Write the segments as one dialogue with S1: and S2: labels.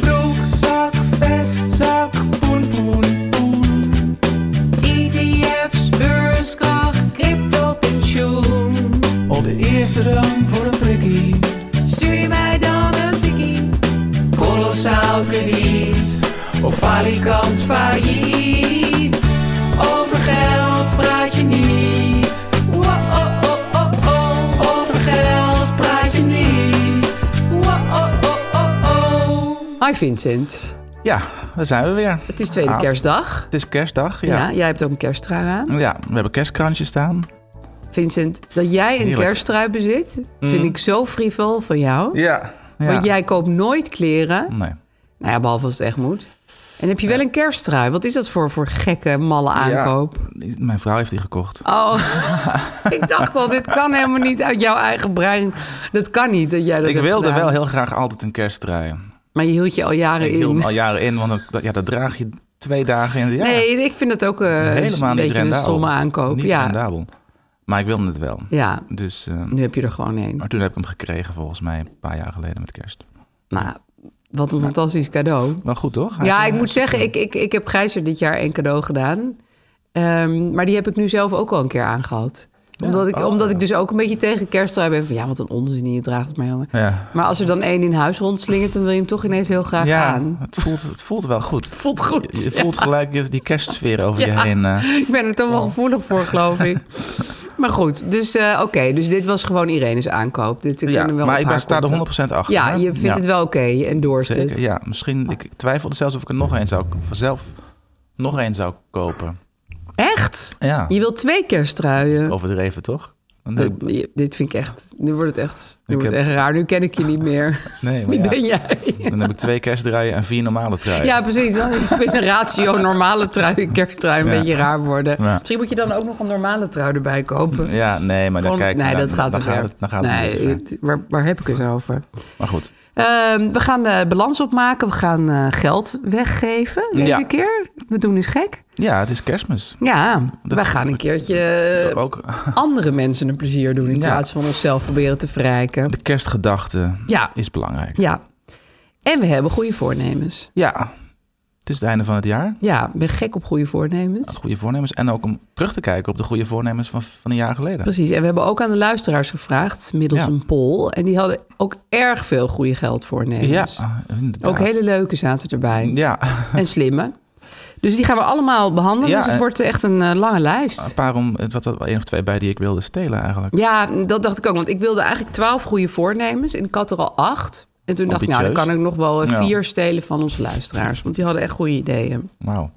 S1: Broekzak, vestzak, poen, poen, poen. ETF's, beurskracht, crypto, pensioen. Op de eerste rang voor een prikkie. Stuur je mij dan een tikkie. Kolossaal krediet. Of falikant failliet. Over geld praat je niet. Wow, oh, oh, oh, oh. Over geld praat je niet. Wow, oh, oh, oh, oh.
S2: Hi Vincent,
S3: Ja, daar zijn we weer.
S2: het is tweede
S3: Af.
S2: kerstdag.
S3: Het is kerstdag,
S2: Ja.
S3: ja.
S2: jij hebt ook een kersttrui aan.
S3: Ja, we hebben kerstkransje staan.
S2: Vincent, dat jij een
S3: Heerlijk. Mm.
S2: kersttrui bezit, vind ik zo frivol van jou.
S3: Ja. ja.
S2: Want jij koopt nooit kleren,
S3: Nee.
S2: nou ja, behalve als het echt moet. En heb je wel een kersttrui? Wat is dat voor, voor gekke, malle aankoop?
S3: Ja, mijn vrouw heeft die gekocht.
S2: Oh, ik dacht al, dit kan helemaal niet uit jouw eigen brein. Dat kan niet dat jij dat
S3: ik
S2: hebt
S3: wilde
S2: gedaan.
S3: wel heel graag altijd een kersttrui.
S2: Maar je hield je al jaren
S3: Ik
S2: in.
S3: hield hem al jaren in, want dat, ja, dat draag je twee dagen in het jaar.
S2: Nee, ik vind dat ook eh,
S3: helemaal
S2: een
S3: niet
S2: beetje een
S3: rendabel.
S2: stomme aankoop.
S3: Niet
S2: ja.
S3: rendabel. Maar ik wilde het wel.
S2: ja,
S3: Dus, eh,
S2: nu heb je er gewoon een.
S3: maar toen heb ik hem gekregen volgens mij een paar jaar geleden met kerst.
S2: Nou, wat een fantastisch cadeau.
S3: Wel goed, toch? Hij
S2: Ja,
S3: is-
S2: ik moet zeggen, ik, ik, ik heb Gijzer dit jaar één cadeau gedaan. Ehm, maar die heb ik nu zelf ook al een keer aangehad. Omdat ik,
S3: Oh.
S2: omdat ik dus ook een beetje tegen kersttrui ben van... ja, wat een onzin, je draagt het maar, jongen.
S3: Ja,
S2: Maar als er dan één in huis rondslingert... dan wil je hem toch ineens heel graag
S3: ja
S2: aan.
S3: het, voelt, het voelt wel goed.
S2: Voelt goed.
S3: Je, je voelt gelijk die kerstsfeer over
S2: Ja.
S3: je heen. eh.
S2: Ik ben er toch wel gevoelig voor, geloof ik. Maar goed, dus eh, oké. dus dit was gewoon Irene's aankoop. Dit, ik
S3: Ja,
S2: kan er wel
S3: maar
S2: op
S3: ik
S2: haar
S3: ben, sta er
S2: konto.
S3: 100% achter.
S2: Ja,
S3: hè?
S2: je vindt het wel oké. Je endorst
S3: Zeker,
S2: het.
S3: ja. Misschien, ik ik twijfelde zelfs of ik er nog één zou, zelf nog één zou kopen.
S2: Echt?
S3: Ja,
S2: Je wil twee kerstruien.
S3: overdreven toch? Nee,
S2: Dit, je- dit vind ik echt. Nu wordt het echt, nu
S3: Ik
S2: wordt het
S3: heb-
S2: echt raar. Nu ken ik je niet meer.
S3: nee maar
S2: Wie
S3: ja.
S2: ben jij?
S3: Dan heb ik twee kerstdraaien en vier normale truien.
S2: Ja, precies. Dan vind een ratio normale trui en kersttrui een
S3: Ja.
S2: beetje raar worden.
S3: Ja.
S2: Misschien moet je dan ook nog een normale trui erbij kopen.
S3: Ja, nee, maar dan
S2: Gewoon-
S3: kijk
S2: nee,
S3: dan,
S2: dat gaat
S3: dan
S2: te ver.
S3: gaat het, dan gaat
S2: nee,
S3: het niet ver.
S2: het- waar, waar heb ik het over?
S3: Maar goed,
S2: Ehm, we gaan de balans opmaken. We gaan eh, geld weggeven deze
S3: Ja.
S2: keer. We doen eens gek.
S3: ja, het is kerstmis.
S2: Ja,
S3: Dat-
S2: we gaan een keertje
S3: Ook
S2: andere mensen een plezier doen... in
S3: Ja.
S2: plaats van onszelf proberen te verrijken.
S3: de kerstgedachte
S2: Ja,
S3: is belangrijk.
S2: ja. En we hebben goede voornemens.
S3: Ja, het is het einde van het jaar.
S2: Ja, ik ben gek op goede voornemens.
S3: Goede voornemens. En ook om terug te kijken op de goede voornemens van, van een jaar geleden.
S2: Precies. En we hebben ook aan de luisteraars gevraagd middels
S3: Ja.
S2: een poll. En die hadden ook erg veel goede geldvoornemens.
S3: Ja, inderdaad.
S2: Ook hele leuke zaten erbij.
S3: Ja,
S2: En slimme. Dus die gaan we allemaal behandelen.
S3: Ja,
S2: dus het
S3: en-
S2: wordt echt een eh, lange
S3: Een
S2: lijst.
S3: paar om, het was er wel één of twee bij die ik wilde stelen eigenlijk.
S2: Ja, dat dacht ik ook. Want ik wilde eigenlijk twaalf goede voornemens. En ik had er al acht. En toen dacht ik, nou, dan
S3: Ambitieus.
S2: kan ik nog wel eh,
S3: Ja.
S2: vier stelen van onze luisteraars. Want die hadden echt goede ideeën.
S3: Wauw.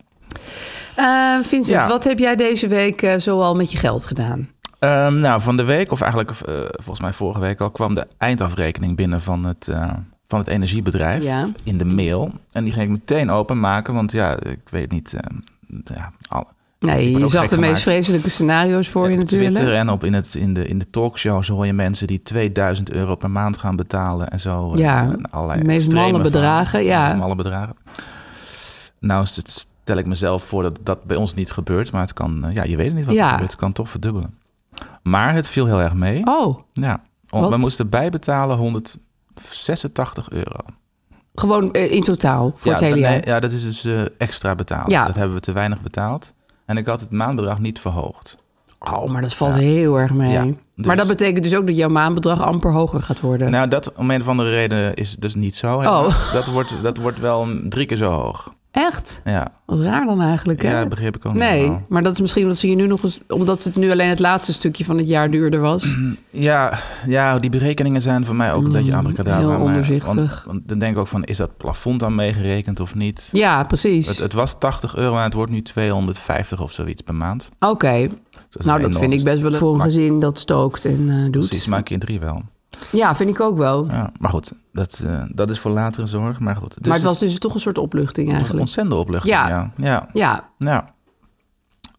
S2: Eh, Vincent,
S3: Ja.
S2: wat heb jij deze week eh, zoal met je geld gedaan?
S3: Ehm, nou, van de week, of eigenlijk eh, volgens mij vorige week al, kwam de eindafrekening binnen van het, eh, van het energiebedrijf
S2: Ja.
S3: in de mail. En die ging ik meteen openmaken, want ja, ik weet niet. ehm, ja, al,
S2: Nee,
S3: wordt
S2: je
S3: ook
S2: zag
S3: gek
S2: de meest
S3: gemaakt.
S2: vreselijke scenario's voor je
S3: op
S2: natuurlijk.
S3: Twitter en op, in, het, in, de, in de talkshows hoor je mensen die 2000 euro per maand gaan betalen en zo. eh,
S2: Ja,
S3: en allerlei
S2: de meest
S3: extreme
S2: malle
S3: van-
S2: bedragen, ja.
S3: Malle bedragen. Nou, is het- stel ik mezelf voor dat dat bij ons niet gebeurt, maar het kan, eh, ja, je weet het niet wat
S2: Ja.
S3: er gebeurt, het kan toch verdubbelen. Maar het viel heel erg mee.
S2: Oh,
S3: Ja, on-
S2: Wat?
S3: we moesten bijbetalen 186 euro.
S2: gewoon eh, in totaal voor
S3: ja,
S2: het hele
S3: nee,
S2: jaar.
S3: ja, dat is dus eh, extra betaald.
S2: Ja.
S3: Dat hebben we te weinig betaald. En ik had het maandbedrag niet verhoogd.
S2: Oh, maar dat valt heel erg mee.
S3: Ja,
S2: Maar dat betekent dus ook dat jouw maandbedrag amper hoger gaat worden.
S3: Nou, dat om een of andere reden is dus niet
S2: Oh.
S3: zo. helaas. Dat, wordt, dat wordt wel drie keer zo hoog.
S2: Echt?
S3: Ja,
S2: Wat raar dan eigenlijk, hè?
S3: ja dat begreep ik ook niet
S2: Nee,
S3: helemaal.
S2: maar dat is misschien omdat ze je nu nog eens, omdat het nu alleen het laatste stukje van het jaar duurder was.
S3: Mhm. Ja, ja, die berekeningen zijn voor mij ook een beetje abracadabra.
S2: Mm, heel
S3: maar-
S2: onderzichtig.
S3: Want, want dan denk ik ook van, is dat plafond dan meegerekend of niet?
S2: Ja, precies.
S3: Het, het was 80 euro, maar het wordt nu 250 of zoiets per maand. Dus
S2: Oké, nou
S3: is een
S2: dat vind
S3: enorme
S2: ik best wel voor een
S3: Maar-
S2: gezin dat stookt en eh, doet.
S3: Precies, maar een keer drie wel.
S2: Ja, vind ik ook wel.
S3: Ja, maar goed, dat, eh, dat is voor latere zorg. Maar goed, dus
S2: maar het was dus toch een soort opluchting
S3: was een
S2: eigenlijk.
S3: ontzettende opluchting.
S2: Ja.
S3: Ja, ja. ja,
S2: Ja,
S3: Nou,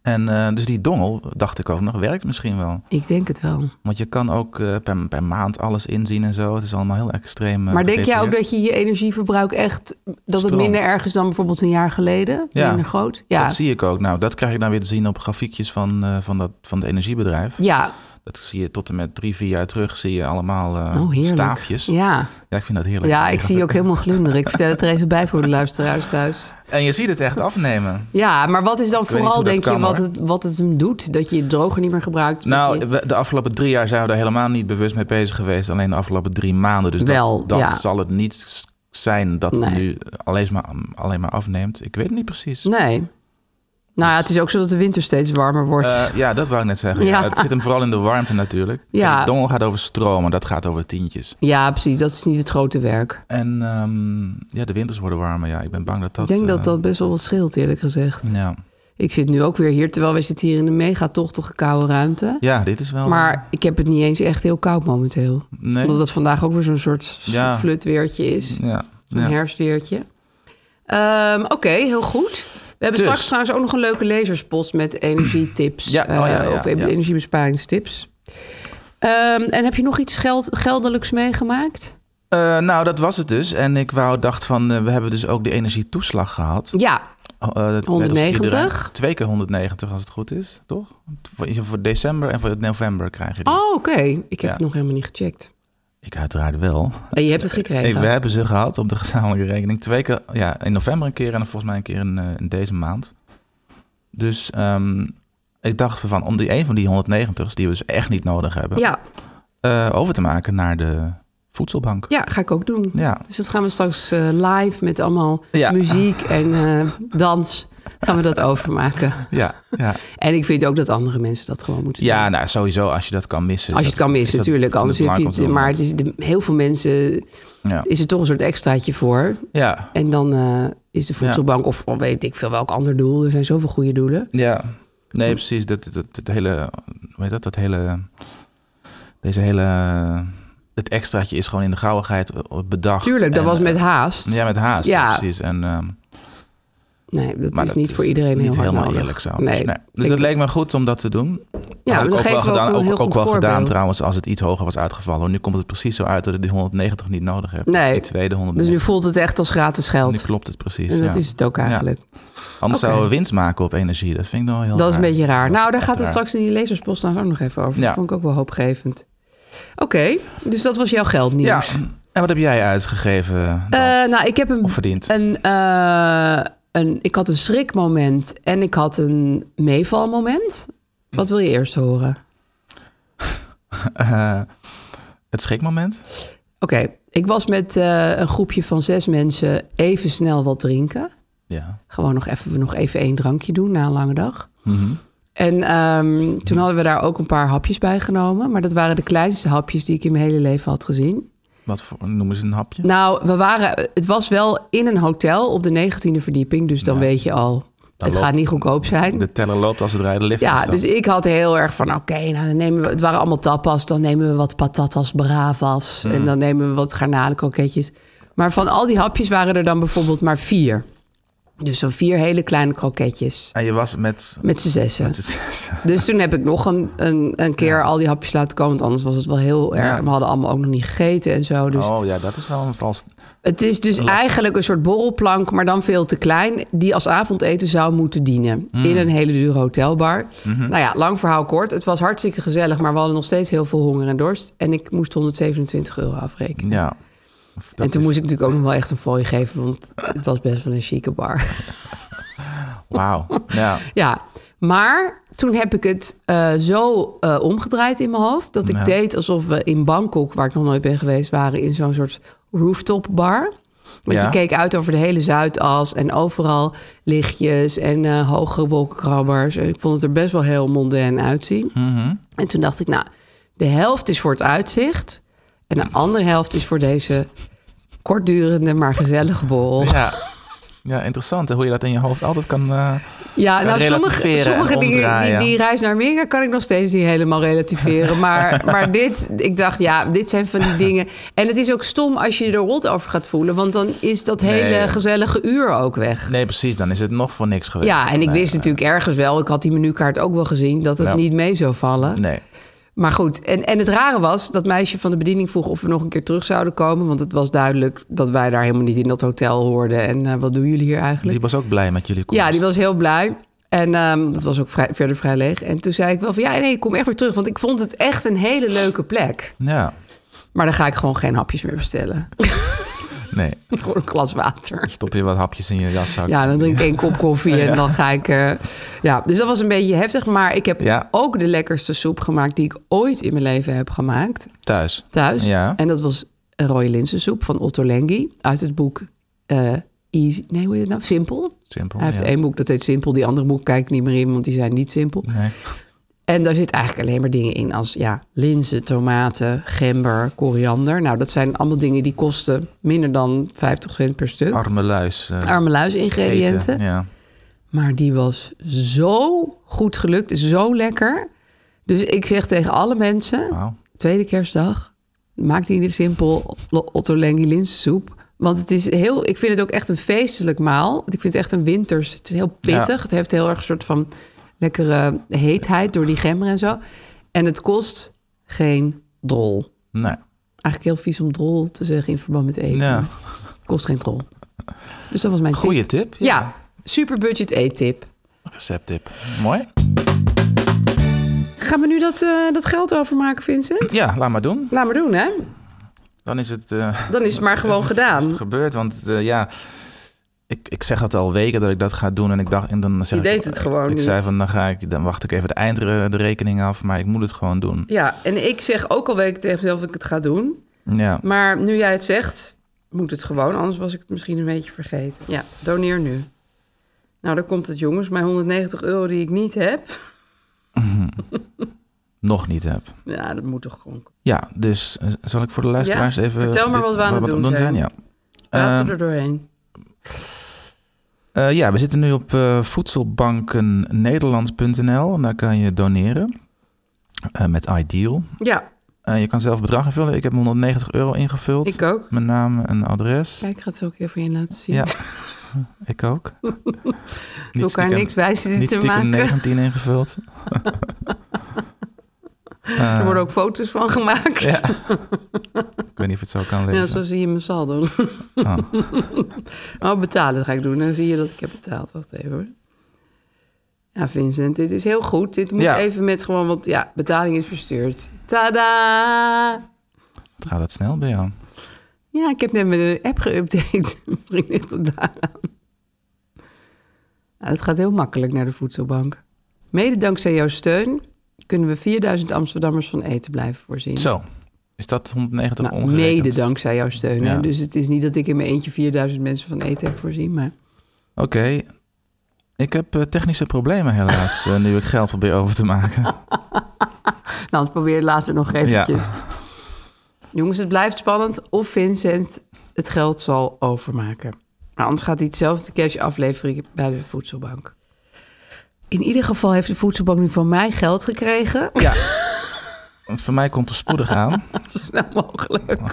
S3: En eh, dus die dongel, dacht ik ook nog, werkt misschien wel.
S2: ik denk het wel.
S3: Want je kan ook eh, per, per maand alles inzien en zo. Het is allemaal heel extreem. eh,
S2: maar denk jij ook
S3: gedetailleerd.
S2: dat je je energieverbruik echt, dat het
S3: Stroomt.
S2: minder erg is dan bijvoorbeeld een jaar geleden?
S3: Ja.
S2: Minder groot? Ja.
S3: Dat zie ik ook. Nou, dat krijg ik dan weer te zien op grafiekjes van, eh, van, dat, van het energiebedrijf.
S2: ja.
S3: Dat zie je tot en met drie, vier jaar terug. Zie je allemaal eh,
S2: Oh, heerlijk.
S3: staafjes. Ja.
S2: Ja.
S3: ik vind dat heerlijk.
S2: ja, ik zie je ook helemaal glunderen. Ik vertel het er even bij voor de luisteraars thuis.
S3: En je ziet het echt afnemen.
S2: Ja, maar wat is dan
S3: weet niet
S2: vooral,
S3: hoe dat
S2: denk je,
S3: kan,
S2: wat
S3: hoor.
S2: het, wat het hem doet? Dat je je droger niet meer gebruikt? dat
S3: Nou,
S2: je-
S3: we- de afgelopen drie jaar zijn we daar helemaal niet bewust mee bezig geweest. Alleen de afgelopen drie maanden. Dus
S2: Wel,
S3: dat, dat
S2: ja.
S3: zal het niet s- zijn dat het
S2: Nee.
S3: nu alleen maar, alleen maar afneemt. Ik weet het niet precies.
S2: Nee. Nou ja, het is ook zo dat de winter steeds warmer wordt.
S3: Eh, ja, dat wou ik net zeggen.
S2: Ja.
S3: Ja. Het zit hem vooral in de warmte natuurlijk.
S2: Ja.
S3: Kijk, dongel gaat over stromen, dat gaat over tientjes.
S2: ja, precies. Dat is niet het grote werk.
S3: En ehm, ja, de winters worden warmer. Ja, ik ben bang dat dat...
S2: Ik denk dat
S3: eh, Hmm.
S2: dat best wel wat scheelt, eerlijk gezegd.
S3: Ja.
S2: Ik zit nu ook weer hier, terwijl we zitten hier in de mega tochtige koude ruimte.
S3: ja, dit is wel...
S2: Maar ik heb het niet eens echt heel koud momenteel.
S3: Nee.
S2: Omdat het vandaag ook weer zo'n soort
S3: Ja.
S2: flutweertje is.
S3: Ja.
S2: Een
S3: ja.
S2: herfstweertje. Ehm, Oké, heel goed. We hebben
S3: Dus.
S2: straks trouwens ook nog een leuke lezerspost met energietips.
S3: Ja,
S2: eh,
S3: oh ja, ja,
S2: of
S3: ja.
S2: energiebesparingstips. Ehm, en heb je nog iets geld, geldelijks meegemaakt?
S3: Eh, nou, dat was het dus. En ik wou, dacht van, eh, we hebben dus ook de energietoeslag gehad.
S2: Ja,
S3: Oh, eh, net als
S2: 190?
S3: iedereen. Twee keer 190 als het goed is, toch? Voor, voor december en voor november krijg je die.
S2: Oh, oké. Ik heb
S3: Ja.
S2: het nog helemaal niet gecheckt.
S3: Ik uiteraard wel.
S2: En je hebt het gekregen.
S3: Hey, we hebben ze gehad op de gezamenlijke rekening. Twee keer, ja, in november een keer en dan volgens mij een keer in, eh, in deze maand. Dus ehm, ik dacht van, om die een van die 190's die we dus echt niet nodig hebben,
S2: ja,
S3: eh, over te maken naar de voedselbank.
S2: ja, ga ik ook doen.
S3: Ja,
S2: Dus dat gaan we straks eh, live met allemaal
S3: Ja.
S2: muziek en eh, dans gaan we dat overmaken.
S3: ja, ja.
S2: En ik vind ook dat andere mensen dat gewoon moeten doen.
S3: Ja, nou sowieso als je dat kan missen.
S2: Als je het
S3: is Dus dat-
S2: kan missen,
S3: is dat
S2: natuurlijk.
S3: van
S2: Anders heb je het.
S3: belang
S2: Maar het is, de- heel veel mensen
S3: Ja.
S2: is er toch een soort extraatje voor.
S3: Ja,
S2: En dan eh, is de voedselbank of of weet ik veel welk ander doel. Er zijn zoveel goede doelen.
S3: Ja, nee, precies. Dat, dat, dat hele, hoe heet dat, dat hele, deze hele, het extraatje is gewoon in de gauwigheid bedacht.
S2: Tuurlijk, dat
S3: En, eh,
S2: was met haast.
S3: Ja, met haast,
S2: Ja.
S3: precies. En, ehm,
S2: nee, dat
S3: maar
S2: is niet voor iedereen
S3: niet
S2: heel hard
S3: helemaal
S2: nodig.
S3: eerlijk zo.
S2: Nee,
S3: dus, dus dat
S2: ik-
S3: leek me goed om dat te doen.
S2: Ja,
S3: Had
S2: maar
S3: ik
S2: dan
S3: ook
S2: geven
S3: wel
S2: we ook
S3: gedaan,
S2: een heel
S3: ook,
S2: goed
S3: ook wel gedaan
S2: voorbeeld.
S3: trouwens als het iets hoger was uitgevallen. Nu komt het precies zo uit dat ik die 190 niet nodig heb.
S2: Nee.
S3: Die tweede
S2: Dus
S3: 190.
S2: nu voelt het echt als gratis
S3: nu
S2: geld.
S3: klopt het precies.
S2: En dat
S3: ja.
S2: is het ook eigenlijk.
S3: Anders
S2: Oké.
S3: zouden we winst maken op energie. Dat vind ik dan wel heel
S2: Dat is een beetje raar.
S3: Dat
S2: Nou, daar
S3: echt
S2: gaat het
S3: raar.
S2: straks in die lezerspost trouwens ook nog even over. Dat
S3: Ja.
S2: vond ik ook wel hoopgevend. Oké, dus dat was jouw
S3: Ja,
S2: geldnieuws.
S3: en wat heb jij uitgegeven? dan?
S2: Eh, nou, ik heb een,
S3: Of verdiend?
S2: een, eh, een... Ik had een schrikmoment en ik had een meevalmoment. Wat wil je eerst horen?
S3: Eh, het schrikmoment?
S2: Oké, ik was met eh, een groepje van zes mensen even snel wat drinken.
S3: Ja.
S2: Gewoon nog even, nog even één drankje doen na een lange dag. En ehm, toen hadden we daar ook een paar hapjes bij genomen. Maar dat waren de kleinste hapjes die ik in mijn hele leven had gezien.
S3: Wat voor, noemen ze een hapje?
S2: Nou, we waren, het was wel in een hotel op de 19e verdieping. Dus dan weet je al, het
S3: loopt-
S2: gaat niet goedkoop zijn.
S3: De teller loopt als het rijden de lift
S2: Ja,
S3: is dan.
S2: dus ik had heel erg van, oké, nou dan nemen we, het waren allemaal tapas, dan nemen we wat patatas bravas
S3: Hmm.
S2: en dan nemen we wat garnalenkroketjes. Maar van al die hapjes waren er dan bijvoorbeeld maar vier. Dus zo'n vier hele kleine kroketjes
S3: En je was met...
S2: met z'n zessen.
S3: met z'n-
S2: Dus toen heb ik nog een, een, een keer al die hapjes laten komen, want anders was het wel heel erg.
S3: Ja.
S2: We hadden allemaal ook nog niet gegeten en zo. Dus
S3: Oh ja, dat is wel een vals...
S2: het is dus eigenlijk een soort borrelplank, maar dan veel te klein, die als avondeten zou moeten dienen. In een hele dure hotelbar. Nou ja, lang verhaal kort. Het was hartstikke gezellig, maar we hadden nog steeds heel veel honger en dorst. En ik moest 127 euro afrekenen.
S3: Ja.
S2: en toen moest ik natuurlijk ook nog wel echt een fooi geven, want het was best wel een chique bar.
S3: Wauw. Ja.
S2: ja, Maar toen heb ik het eh, zo eh, omgedraaid in mijn hoofd... dat ik
S3: Ja.
S2: deed alsof we in Bangkok, waar ik nog nooit ben geweest... waren in zo'n soort rooftop bar. Want
S3: Ja.
S2: je keek uit over de hele Zuidas en overal lichtjes en eh, hoge wolkenkrabbers. Ik vond het er best wel heel mondain uitzien.
S3: Mhm.
S2: En toen dacht ik, nou, de helft is voor het uitzicht... en de andere helft is voor deze kortdurende, maar gezellige borrel.
S3: Ja. ja, interessant hè, hoe je dat in je hoofd altijd kan... eh,
S2: Ja,
S3: Kan
S2: nou, sommige,
S3: relativeren en
S2: sommige die, die,
S3: omdraaien.
S2: die reis naar Minga kan ik nog steeds niet helemaal relativeren. Maar, maar dit, ik dacht, ja, dit zijn van die dingen. En het is ook stom als je je er rot over gaat voelen, want dan is dat
S3: Nee.
S2: hele gezellige uur ook weg.
S3: Nee, precies. Dan is het nog voor niks geweest.
S2: Ja, en ik
S3: Nee,
S2: wist
S3: nee.
S2: natuurlijk ergens wel, ik had die menukaart ook wel gezien, dat het
S3: Ja.
S2: niet mee zou vallen.
S3: Nee.
S2: Maar goed, en, en het rare was, dat meisje van de bediening vroeg of we nog een keer terug zouden komen. Want het was duidelijk dat wij daar helemaal niet in dat hotel hoorden. En eh, wat doen jullie hier eigenlijk?
S3: Die was ook blij met jullie komst.
S2: Ja, die was heel blij. En ehm, dat was ook vrij, verder vrij leeg. En toen zei ik wel van ja, nee, ik kom echt weer terug. Want ik vond het echt een hele leuke plek.
S3: Ja,
S2: Maar dan ga ik gewoon geen hapjes meer bestellen.
S3: nee.
S2: gewoon een glas water.
S3: Stop je wat hapjes in je jaszak.
S2: Ja, dan drink ik één kop koffie en dan ga ik... eh, ja, dus dat was een beetje heftig. Maar ik heb
S3: Ja.
S2: ook de lekkerste soep gemaakt die ik ooit in mijn leven heb gemaakt.
S3: Thuis.
S2: Thuis.
S3: Ja.
S2: En dat was een rode linzensoep van Otto Lengi. Uit het boek eh, Easy... Nee, hoe heet het nou? Simpel.
S3: Simpel.
S2: Hij heeft
S3: ja.
S2: één boek, dat heet Simpel. Die andere boek kijk ik niet meer in, want die zijn niet simpel.
S3: Nee.
S2: En daar zit eigenlijk alleen maar dingen in als ja, linzen, tomaten, gember, koriander. Nou, dat zijn allemaal dingen die kosten minder dan 50 cent per stuk.
S3: Arme luis. eh,
S2: Arme luis
S3: eten.
S2: ingrediënten.
S3: Ja.
S2: Maar die was zo goed gelukt, zo lekker. Dus ik zeg tegen alle mensen,
S3: Wauw.
S2: tweede kerstdag, maak die simpel Otto Lengi linzensoep. Want het is heel, ik vind het ook echt een feestelijk maal. Ik vind het echt een winters. Het is heel pittig. Het heeft heel erg een soort van lekkere heetheid door die gember en zo. En het kost geen drol.
S3: Nee.
S2: Eigenlijk heel vies om drol te zeggen in verband met eten.
S3: Nou, Ja.
S2: Het kost geen drol. Dus dat was mijn tip.
S3: Goeie tip.
S2: Ja, super budget eettip.
S3: Recepttip. Mooi.
S2: Gaan we nu dat, eh, dat geld overmaken, Vincent?
S3: Ja, laat maar doen.
S2: Laat maar doen, hè?
S3: Dan is het... eh,
S2: Dan is het maar gewoon
S3: Is
S2: gedaan.
S3: het gebeurd, want eh, ja... Ik, ik zeg dat al weken dat ik dat ga doen en ik dacht... En dan zeg
S2: Je
S3: ik-
S2: deed het gewoon
S3: Ik
S2: niet.
S3: zei van, dan, ga ik, dan wacht ik even de eindre- de rekening af, maar ik moet het gewoon doen.
S2: Ja, en ik zeg ook al weken tegen mezelf dat ik het ga doen.
S3: Ja.
S2: Maar nu jij het zegt, moet het gewoon. Anders was ik het misschien een beetje vergeten. Ja, doneer nu. Nou, daar komt het, jongens. Mijn 190 euro die ik niet heb.
S3: Nog niet heb.
S2: Ja, dat moet toch gewoon.
S3: Ja, dus eh, zal ik voor de luisteraars
S2: Ja,
S3: even...
S2: vertel maar wat we aan het doen zijn.
S3: Ja.
S2: Laten we
S3: Eh,
S2: er doorheen.
S3: eh, ja, we zitten nu op eh, voedselbankennederland.nl. Daar kan je doneren eh, met Ideal.
S2: Ja,
S3: Eh, je kan zelf bedrag invullen. Ik heb 190 euro ingevuld.
S2: ik ook.
S3: Mijn naam en adres.
S2: Kijk, ik ga het ook even je laten zien.
S3: Ja,
S2: We
S3: ik ook. niet
S2: elkaar
S3: stiekem,
S2: niks bij zitten
S3: niet
S2: te maken.
S3: stiekem 19 ingevuld. Eh,
S2: Er worden ook foto's van gemaakt.
S3: ja.
S2: Ja,
S3: ik weet niet of je het zo kan lezen.
S2: zo zie je mijn saldo. Oh, betalen ga ik doen. Dan zie je dat ik heb betaald. Wacht even hoor. Ja, Vincent, dit is heel goed. Dit moet
S3: Ja.
S2: even met gewoon, want ja, betaling is verstuurd. Tada!
S3: Wat gaat dat snel bij jou?
S2: Ja, ik heb net mijn app geüpdate. Misschien ligt het daaraan. Nou, het gaat heel makkelijk naar de voedselbank. Mede dankzij jouw steun kunnen we 4000 Amsterdammers van eten blijven voorzien.
S3: Zo, is dat 190
S2: Nou,
S3: omgerekend?
S2: mede dankzij jouw steun. hè.
S3: Ja.
S2: Dus het is niet dat ik in mijn eentje 4000 mensen van eten heb voorzien, maar...
S3: Oké. Ik heb eh, technische problemen helaas, eh, nu ik geld probeer over te maken.
S2: Nou, dat probeer je later nog eventjes. Jongens, het blijft spannend of Vincent het geld zal overmaken. Nou, anders gaat hij hetzelfde cash afleveren bij de voedselbank. In ieder geval heeft de voedselbank nu van mij geld gekregen.
S3: Ja. Want voor mij komt er spoedig aan.
S2: Zo snel mogelijk.
S3: Oh.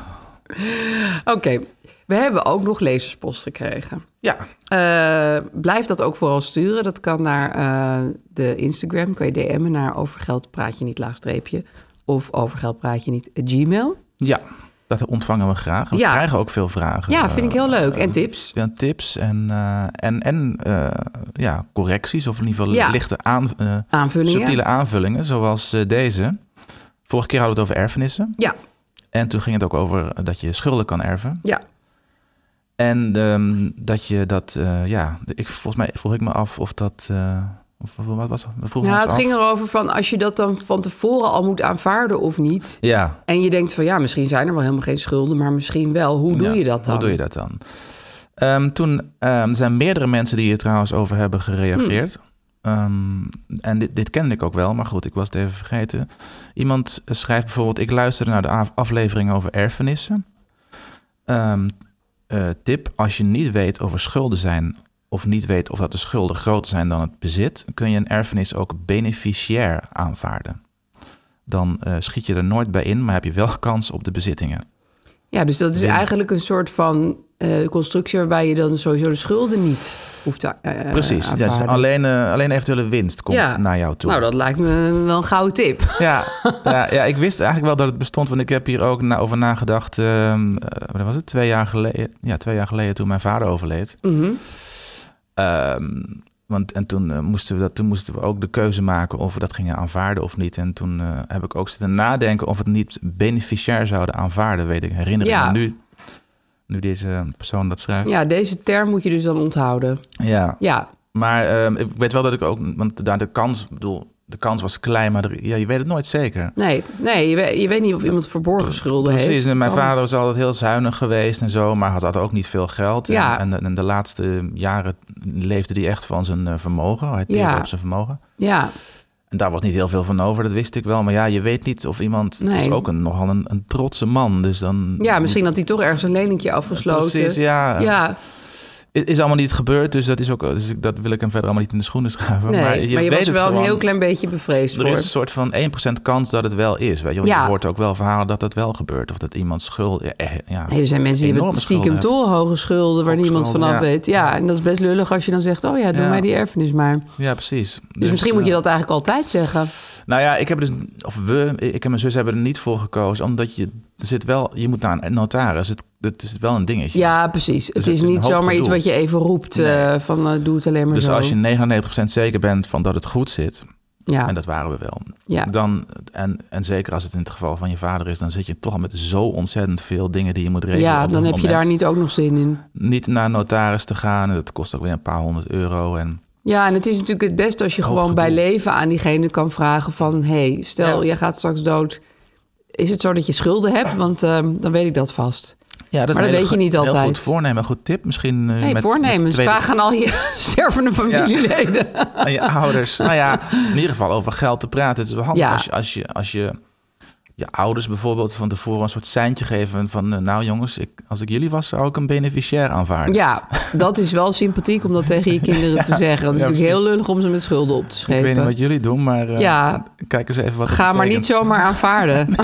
S2: Oké, we hebben ook nog lezerspost gekregen.
S3: Ja.
S2: Eh, blijf dat ook vooral sturen. Dat kan naar eh, de Instagram. Kan je DM'en naar overgeld praat je niet laagstreepje. Of overgeld praat je niet Gmail.
S3: Ja, dat ontvangen we graag. We
S2: Ja.
S3: krijgen ook veel vragen.
S2: Ja, vind ik heel leuk.
S3: Eh,
S2: En tips.
S3: ja, tips en, eh, en, en eh, ja, correcties, of in ieder geval
S2: Ja.
S3: lichte aan, eh,
S2: Aanvullingen.
S3: subtiele aanvullingen, zoals eh, deze. Vorige keer hadden we het over erfenissen.
S2: Ja,
S3: En toen ging het ook over eh, dat je schulden kan erven.
S2: ja.
S3: En ehm, dat je dat, eh, ja, ik, volgens mij vroeg ik me af of dat, eh, Of, of wat was dat? We vroegen
S2: Ja,
S3: ons
S2: het
S3: af.
S2: ging erover van als je dat dan van tevoren al moet aanvaarden of niet.
S3: Ja.
S2: En je denkt van ja, misschien zijn er wel helemaal geen schulden, maar misschien wel. Hoe doe
S3: Ja,
S2: je dat dan?
S3: Hoe doe je dat dan? Ehm, toen ehm, er zijn meerdere mensen die hier trouwens over hebben gereageerd.
S2: Hmm.
S3: Ehm, en dit, dit kende ik ook wel, maar goed, ik was het even vergeten. Iemand schrijft bijvoorbeeld: Ik luisterde naar de af- aflevering over erfenissen. Ehm, eh, tip: Als je niet weet of er schulden zijn, of niet weet of dat de schulden groter zijn dan het bezit, kun je een erfenis ook beneficiair aanvaarden. Dan eh, schiet je er nooit bij in, maar heb je wel kans op de bezittingen.
S2: Ja, dus dat is eigenlijk een soort van eh, constructie waarbij je dan sowieso de schulden niet hoeft te eh,
S3: Precies, ja, dus
S2: aanvaarden.
S3: alleen, eh, alleen eventuele winst komt
S2: Ja.
S3: naar jou toe.
S2: Nou, dat lijkt me wel een gouden tip.
S3: ja, ja, ja, ik wist eigenlijk wel dat het bestond, want ik heb hier ook na, over nagedacht. ehm, eh, wat was het? Twee jaar geleden. Ja, twee jaar geleden toen mijn vader overleed.
S2: Mhm.
S3: Ehm, want, en toen, eh, moesten we dat, toen moesten we ook de keuze maken of we dat gingen aanvaarden of niet. En toen eh, heb ik ook zitten nadenken of we het niet beneficiair zouden aanvaarden, weet ik. Herinner ik
S2: Ja.
S3: me nu, nu deze persoon dat schrijft.
S2: Ja, deze term moet je dus dan onthouden.
S3: ja.
S2: Ja,
S3: Maar ehm, ik weet wel dat ik ook, want daar de kans, ik bedoel, de kans was klein, maar er- ja, je weet het nooit zeker.
S2: nee, nee je, weet, je weet niet of iemand verborgen schulden heeft.
S3: Precies, en mijn
S2: Kan.
S3: vader was altijd heel zuinig geweest en zo, maar had, had ook niet veel geld. En-
S2: Ja.
S3: En, en, de laatste jaren leefde hij echt van zijn eh, vermogen, hij
S2: Ja.
S3: ja. op zijn vermogen.
S2: Ja,
S3: En daar was niet heel veel van over, dat wist ik wel. Maar ja, je weet niet of iemand, het
S2: Nee.
S3: was ook een, nogal een, een trotse man, dus dan...
S2: ja, misschien had hij toch ergens een leningje afgesloten.
S3: Precies, ja.
S2: Ja,
S3: I- Is allemaal niet gebeurd, dus dat, is ook, dus ik- dat wil ik hem verder allemaal niet in de schoenen schuiven.
S2: nee,
S3: maar
S2: maar
S3: je,
S2: je,
S3: weet
S2: was
S3: het
S2: wel een
S3: gewoon.
S2: heel klein beetje bevreesd
S3: Er
S2: voor.
S3: is een soort van 1% kans dat het wel is. Weet je? Want
S2: Ja.
S3: je hoort ook wel verhalen dat dat wel gebeurt. Of dat iemand schuld... Ja, eh, ja,
S2: Nee, er zijn mensen die hebben
S3: enorme schulden
S2: stiekem
S3: hebben.
S2: torenhoge schulden waar niemand
S3: Schulden,
S2: vanaf
S3: ja.
S2: weet. Ja, en dat is best lullig als je dan zegt, oh ja, doe
S3: Ja.
S2: mij die erfenis maar. Dus,
S3: Ja, precies. Dus,
S2: misschien moet je
S3: eh,
S2: dat eigenlijk altijd zeggen.
S3: Nou ja, ik heb dus... Of we, ik en mijn zus hebben er niet voor gekozen. Omdat je... Er zit wel... Je moet naar een notaris. Het, het is wel een dingetje.
S2: Ja, precies. het
S3: Dus het
S2: is
S3: is een
S2: niet
S3: hoop
S2: zomaar iets
S3: gedoe.
S2: wat je even roept eh, van eh, doe het alleen maar
S3: dus
S2: zo.
S3: als je 99% zeker bent van dat het goed zit...
S2: ja.
S3: En dat waren we wel.
S2: Ja.
S3: Dan, en, en zeker als het in het geval van je vader is... dan zit je toch al met zo ontzettend veel dingen die je moet regelen.
S2: ja,
S3: op
S2: dan
S3: dat
S2: heb je daar
S3: moment.
S2: niet ook nog zin in.
S3: Niet naar een notaris te gaan. Dat kost ook weer een paar honderd euro. En
S2: Ja, en het is natuurlijk het beste als je
S3: Hoop
S2: gewoon bij
S3: gedoe.
S2: leven aan diegene kan vragen van... hé, hey, stel,
S3: Ja.
S2: jij gaat straks dood. Is het zo dat je schulden hebt? Want ehm, dan weet ik dat vast.
S3: Ja, dat
S2: Maar
S3: is
S2: dat
S3: een hele
S2: weet je niet
S3: go- heel
S2: altijd.
S3: goed voornemen, een goed tip misschien. eh,
S2: Nee,
S3: met-
S2: voornemens.
S3: met tweede-
S2: Vraag aan al je stervende familieleden.
S3: aan je ouders. nou ja, in ieder geval over geld te praten. Het is wel handig
S2: Ja.
S3: als, je, als, je, als je je ouders bijvoorbeeld van tevoren een soort seintje geven van... eh, nou jongens, ik, als ik jullie was, zou ik een beneficiair aanvaarden.
S2: Ja, dat is wel sympathiek om dat tegen je kinderen te zeggen. Dat is
S3: ja,
S2: natuurlijk heel
S3: precies.
S2: lullig om ze met schulden op te
S3: Ik weet niet wat
S2: schepen.
S3: jullie doen, maar eh,
S2: Ja.
S3: kijk eens even wat het
S2: Ga maar niet
S3: betekent.
S2: zomaar aanvaarden.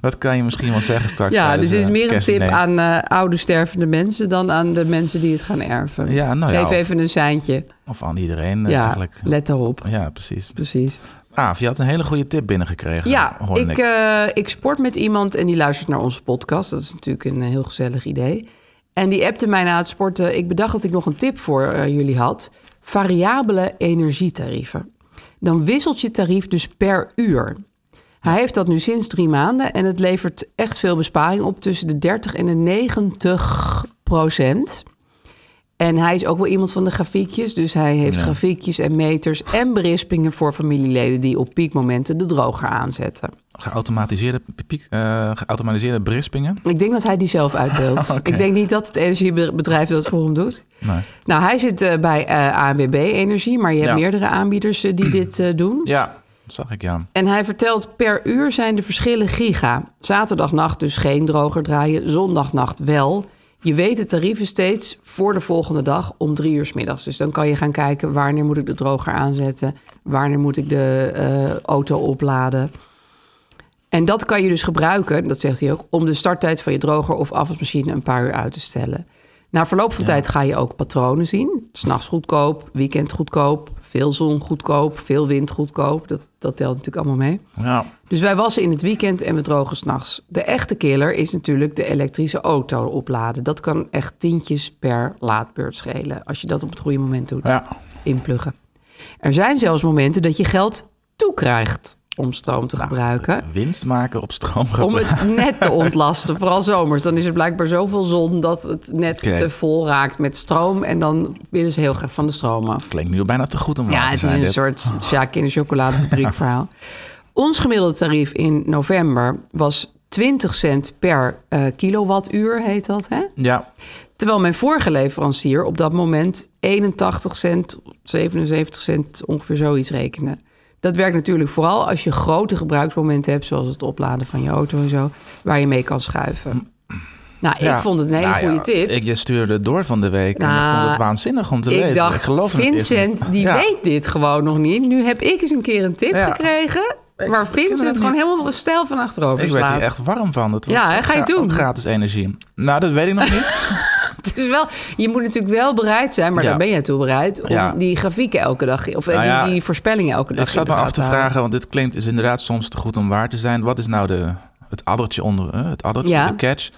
S3: Dat kan je misschien wel zeggen straks.
S2: Ja, dus
S3: tijdens,
S2: dit is
S3: eh, het
S2: meer een tip
S3: kerstdiner.
S2: aan eh, oude stervende mensen dan aan de mensen die het gaan erven.
S3: Ja, nou ja,
S2: Geef
S3: of-
S2: even een seintje.
S3: Of aan iedereen eh,
S2: ja,
S3: eigenlijk.
S2: let daarop.
S3: Ja, precies.
S2: Precies.
S3: Aaf, je had een hele goede tip binnengekregen,
S2: Ja,
S3: hoorde
S2: ik, eh, ik sport met iemand en die luistert naar onze podcast. Dat is natuurlijk een eh, heel gezellig idee. En die appte mij na het sporten. Ik bedacht dat ik nog een tip voor eh, jullie had. Variabele energietarieven. Dan wisselt je tarief dus per uur. Hij heeft dat nu sinds drie maanden en het levert echt veel besparing op tussen de 30 en de 90 procent. En hij is ook wel iemand van de grafiekjes. Dus hij heeft grafiekjes en meters en berispingen voor familieleden die op piekmomenten de droger aanzetten.
S3: Geautomatiseerde, piek, eh, geautomatiseerde berispingen.
S2: Ik denk dat hij die zelf uitdeelt.
S3: Oké.
S2: Ik denk niet dat het energiebedrijf dat voor hem doet.
S3: Nee.
S2: Nou, hij zit eh, bij eh ANWB Energie, maar je hebt
S3: Ja.
S2: meerdere aanbieders eh, die dit eh, doen.
S3: Ja, dat zag ik ja.
S2: En hij vertelt per uur zijn de verschillen giga. Zaterdagnacht dus geen droger draaien, zondagnacht wel. Je weet de tarieven steeds voor de volgende dag om drie uur 's middags. Dus dan kan je gaan kijken wanneer moet ik de droger aanzetten, wanneer moet ik de eh, auto opladen. En dat kan je dus gebruiken, dat zegt hij ook, om de starttijd van je droger of afwasmachine een paar uur uit te stellen. Na verloop van tijd ga je ook patronen zien. S'nachts goedkoop, weekend goedkoop, veel zon goedkoop, veel wind goedkoop. Dat, dat telt natuurlijk allemaal mee.
S3: Ja,
S2: Dus wij wassen in het weekend en we drogen s'nachts. De echte killer is natuurlijk de elektrische auto opladen. Dat kan echt tientjes per laadbeurt schelen. Als je dat op het goede moment doet.
S3: Ja.
S2: Inpluggen. Er zijn zelfs momenten dat je geld toekrijgt. om stroom
S3: Nou,
S2: te gebruiken.
S3: Winst maken op stroomgebruik.
S2: Om het net te ontlasten, vooral zomers. Dan is er blijkbaar zoveel zon dat het net
S3: Oké.
S2: te vol raakt met stroom. En dan willen ze heel graag van de stroom af.
S3: Klinkt nu bijna te goed om waar
S2: Ja,
S3: te
S2: het is
S3: Nou, zijn,
S2: een
S3: dit.
S2: soort ja, kinderchocoladefabriek verhaal. Ons gemiddelde tarief in november was 20 cent per eh, kilowattuur, heet dat. Hè?
S3: Ja,
S2: Terwijl mijn vorige leverancier op dat moment 81 cent, 77 cent, ongeveer zoiets rekende. Dat werkt natuurlijk vooral als je grote gebruiksmomenten hebt, zoals het opladen van je auto en zo, waar je mee kan schuiven. Nou, ik
S3: ja.
S2: vond het een hele
S3: Nou ja,
S2: goede tip.
S3: Ik, je stuurde het door van de week en ik
S2: Nou,
S3: vond het waanzinnig om te
S2: ik
S3: lezen.
S2: dacht,
S3: ik geloof het eerst
S2: Vincent,
S3: niet.
S2: die
S3: Ja.
S2: weet dit gewoon nog niet. Nu heb ik eens een keer een tip
S3: Ja.
S2: gekregen... waar
S3: ken
S2: Vincent
S3: het
S2: gewoon
S3: niet.
S2: helemaal stijl van achterover
S3: Ik werd
S2: slaat.
S3: hier echt warm van. Dat was
S2: Ja, hè, ga je
S3: ook
S2: doen?
S3: gratis energie. Nou, dat weet ik nog niet.
S2: Het is wel, je moet natuurlijk wel bereid zijn, maar
S3: Ja.
S2: daar ben jij toe bereid... om
S3: Ja.
S2: die grafieken elke dag, of eh,
S3: Nou ja,
S2: die, die voorspellingen elke dag
S3: ik zat
S2: in de
S3: me af
S2: gaten
S3: te
S2: houden.
S3: vragen, want dit klinkt is inderdaad soms te goed om waar te zijn. Wat is nou de, het addertje onder, eh, het addertje,
S2: Ja.
S3: de catch?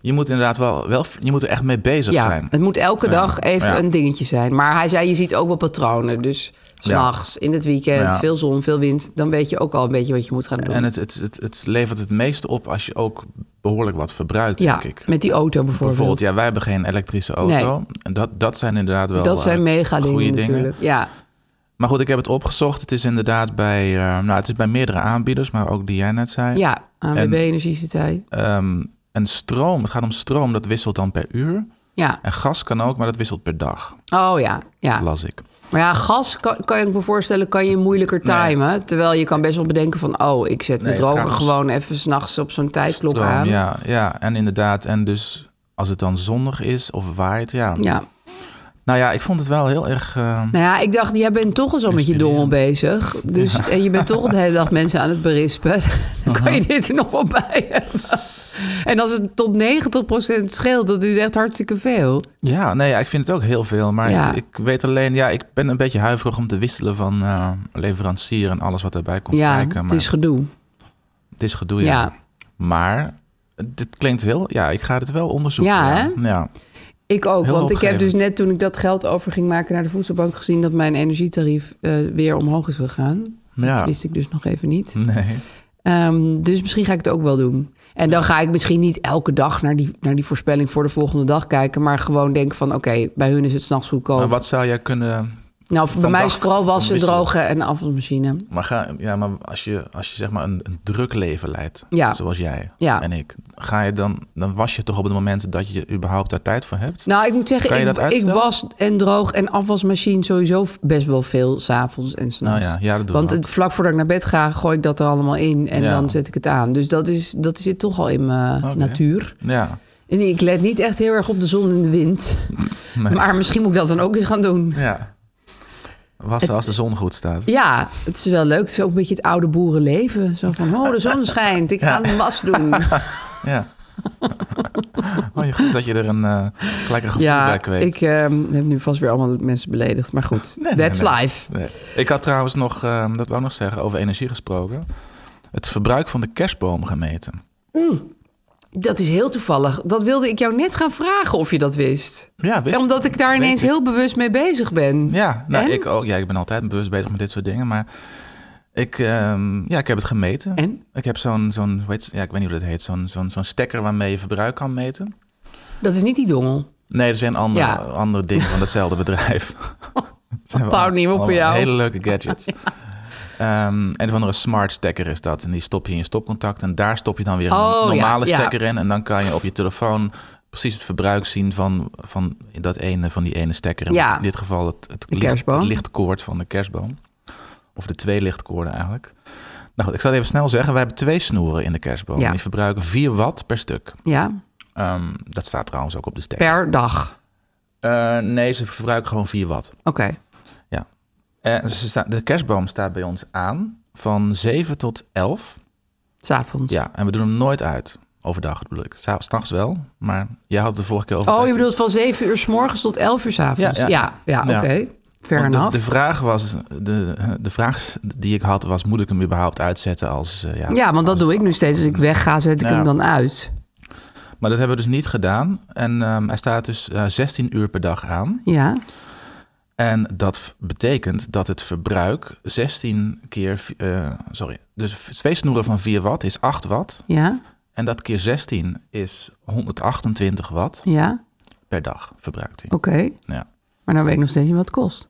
S3: Je moet inderdaad wel, wel, je moet er echt mee bezig
S2: ja,
S3: zijn.
S2: Het moet elke
S3: Ja,
S2: dag even
S3: ja.
S2: een dingetje zijn. Maar hij zei, je ziet ook wel patronen. Dus s'nachts, in het weekend,
S3: Ja.
S2: veel zon, veel wind. Dan weet je ook al een beetje wat je moet gaan doen.
S3: En het, het, het, het levert het meeste op als je ook behoorlijk wat verbruikt,
S2: ja,
S3: denk ik.
S2: met die auto bijvoorbeeld.
S3: Bijvoorbeeld, ja, wij hebben geen elektrische auto. En dat, dat zijn inderdaad wel
S2: dat zijn
S3: eh,
S2: mega
S3: goede
S2: dingen natuurlijk. Ja,
S3: Maar goed, ik heb het opgezocht. Het is inderdaad bij, eh, nou, het is bij meerdere aanbieders, maar ook die jij net zei.
S2: ja ANWB,
S3: En-
S2: energieciteit.
S3: Ehm, en stroom, het gaat om stroom, dat wisselt dan per uur.
S2: Ja,
S3: En gas kan ook, maar dat wisselt per dag,
S2: oh ja, ja.
S3: las ik.
S2: Maar ja, gas kan, kan ik me voorstellen, kan je moeilijker timen. Terwijl je kan best wel bedenken van, oh, ik zet
S3: Nee,
S2: mijn
S3: het
S2: droger
S3: gaat om
S2: gewoon even s'nachts op zo'n tijdklok
S3: Stroom,
S2: aan.
S3: ja, ja, en inderdaad. En dus als het dan zonnig is of waait, ja.
S2: ja.
S3: Nou ja, ik vond het wel heel erg... eh,
S2: Nou ja, ik dacht, jij bent toch al zo met je dongel bezig. Dus en je bent toch al de hele dag mensen aan het berispen. Dan kan je dit er nog wel bij hebben. En als het tot 90% scheelt, dat is echt hartstikke veel.
S3: Ja, nee, ja, ik vind het ook heel veel. Maar
S2: Ja.
S3: ik, ik weet alleen, ja, ik ben een beetje huiverig om te wisselen van eh, leverancier en alles wat daarbij komt
S2: ja,
S3: kijken. Maar
S2: het is gedoe.
S3: gedoe, ja.
S2: Ja.
S3: Maar dit klinkt heel, ja, ik ga het wel onderzoeken.
S2: Ja,
S3: ja.
S2: hè?
S3: Ja.
S2: Ik ook,
S3: Heel
S2: want ik heb dus
S3: hoopgevend.
S2: net toen ik dat geld over ging maken naar de voedselbank gezien... dat mijn energietarief eh, weer omhoog is gegaan.
S3: Ja.
S2: Dat wist ik dus nog even niet.
S3: Nee.
S2: Ehm, dus misschien ga ik het ook wel doen. En dan ga ik misschien niet elke dag naar die, naar die voorspelling voor de volgende dag kijken... maar gewoon denken van, oké, bij hun is het s'nachts goedkoop.
S3: Maar wat zou jij kunnen...
S2: Nou, voor bij mij is
S3: dag
S2: vooral
S3: van
S2: wassen,
S3: wisselen.
S2: drogen en afwasmachine.
S3: Maar, ga, ja, maar als, je, als je zeg maar een, een druk leven leidt,
S2: Ja.
S3: zoals jij
S2: Ja.
S3: en ik, ga je dan, dan was je toch op het moment dat je überhaupt daar tijd voor hebt?
S2: Nou, ik moet
S3: Kan je
S2: zeggen, ik,
S3: dat
S2: ik
S3: uitstellen?
S2: was en droog en afwasmachine sowieso f- best wel veel s'avonds en s'nachts.
S3: Nou ja, ja, dat doen
S2: Want
S3: we
S2: het, vlak voordat ik naar bed ga, gooi ik dat er allemaal in en
S3: Ja.
S2: dan zet ik het aan. Dus dat, is, dat zit toch al in mijn
S3: Oké.
S2: natuur.
S3: Ja.
S2: En ik let niet echt heel erg op de zon en de wind.
S3: Nee.
S2: Maar misschien moet ik dat dan ook eens gaan doen.
S3: ja. Wassen als de zon goed staat.
S2: Ja, het is wel leuk. Het is ook een beetje het oude boerenleven. Zo van, oh, de zon schijnt. Ik ga een was doen.
S3: Ja. oh, je- goed dat je er een eh gelijk een gevoel bij
S2: Ja,
S3: kweekt.
S2: ik ehm, heb nu vast weer allemaal mensen beledigd. Maar goed,
S3: Nee, nee,
S2: that's
S3: nee.
S2: life.
S3: Nee. Ik had trouwens nog, ehm, dat wou ik nog zeggen, over energie gesproken. Het verbruik van de kerstboom gemeten.
S2: Dat is heel toevallig. Dat wilde ik jou net gaan vragen of je dat wist.
S3: Ja, wist
S2: Omdat ik daar
S3: weet
S2: ineens
S3: ik.
S2: heel bewust mee bezig ben.
S3: Ja, nou,
S2: En?
S3: ik ook. Ja, ik ben altijd bewust bezig met dit soort dingen, maar ik, ehm, ja, ik heb het gemeten.
S2: En?
S3: Ik heb zo'n, zo'n hoe heet het? ja, ik weet niet hoe dat heet, zo'n, zo'n, zo'n stekker waarmee je verbruik kan meten.
S2: Dat is niet die dongel.
S3: Nee, dat is weer een ander,
S2: Ja.
S3: ander ding van datzelfde bedrijf. Ze hebben
S2: houdt niet op
S3: allemaal
S2: bij jou.
S3: Hele leuke gadgets. Ehm, een of andere smart stekker is dat. En die stop je in je stopcontact. En daar stop je dan weer een
S2: Oh, ja,
S3: normale
S2: ja.
S3: stekker in. En dan kan je op je telefoon precies het verbruik zien van, van, dat ene, van die ene stekker. En
S2: Ja.
S3: In dit geval het, het,
S2: De
S3: licht,
S2: kerstboom.
S3: het lichtkoord van de kerstboom. Of de twee lichtkoorden eigenlijk. Nou goed, ik zal het even snel zeggen. Wij hebben twee snoeren in de kerstboom.
S2: Ja.
S3: Die verbruiken 4 watt per stuk.
S2: Ja,
S3: Ehm, dat staat trouwens ook op de stekker.
S2: per dag.
S3: Eh, nee, ze verbruiken gewoon 4 watt.
S2: Oké.
S3: Eh, ze sta- de kerstboom staat bij ons aan van 7 tot 11.
S2: S'avonds.
S3: Ja, en we doen hem nooit uit. Overdag bedoel ik. Sa- S'nachts wel, maar jij had het de vorige keer over.
S2: Oh, je
S3: dat-
S2: bedoelt van 7 uur s morgens tot 11 uur s avonds.
S3: Ja,
S2: Ja,
S3: ja.
S2: ja, oké.
S3: Ja.
S2: Fair
S3: Want
S2: enough.
S3: de, de vraag was, de, de vraag die ik had was, moet ik hem überhaupt uitzetten als... eh, ja,
S2: ja, want dat
S3: als-
S2: doe ik nu steeds. Als ik wegga, zet ik
S3: Ja.
S2: hem dan uit.
S3: Maar dat hebben we dus niet gedaan. En ehm, hij staat dus eh, 16 uur per dag aan.
S2: Ja.
S3: En dat v- betekent dat het verbruik 16 keer, vi- eh, sorry, dus v- twee snoeren van 4 watt is 8 watt.
S2: Ja,
S3: En dat keer 16 is 128 watt
S2: ja,
S3: per dag verbruikt hij.
S2: oké.
S3: Ja.
S2: Maar nou weet ik nog steeds niet wat het kost.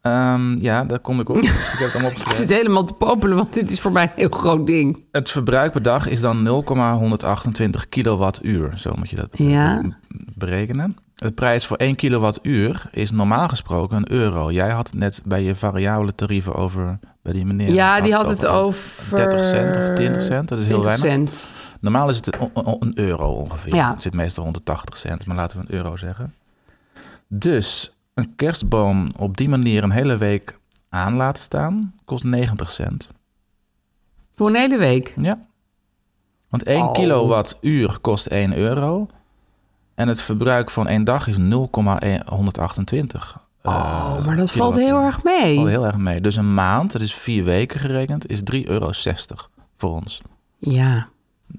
S3: Ehm, ja, daar kom ik op. ik heb het allemaal
S2: Ik zit
S3: opgeschreven.
S2: helemaal te popelen, want dit is voor mij een heel groot ding.
S3: Het verbruik per dag is dan 0,128 kilowattuur. Zo moet je dat be-
S2: Ja.
S3: berekenen. De prijs voor 1 kilowattuur is normaal gesproken een euro. Jij had het net bij je variabele tarieven over bij die meneer.
S2: Ja, die had het
S3: een-
S2: over...
S3: 30 cent of 20 cent, dat is heel
S2: 20
S3: weinig.
S2: cent.
S3: Normaal is het o- o- een euro ongeveer.
S2: Ja.
S3: Het zit meestal 180 cent, maar laten we een euro zeggen. Dus een kerstboom op die manier een hele week aan laten staan kost 90 cent.
S2: Voor een hele week.
S3: Ja. Want 1
S2: Oh.
S3: kilowattuur kost 1 euro. En het verbruik van één dag is 0,128. eh,
S2: Oh, maar dat valt heel
S3: kilowattuur.
S2: erg mee.
S3: Valt heel erg mee. Dus een maand, dat is vier weken gerekend, is 3,60 euro voor ons.
S2: Ja.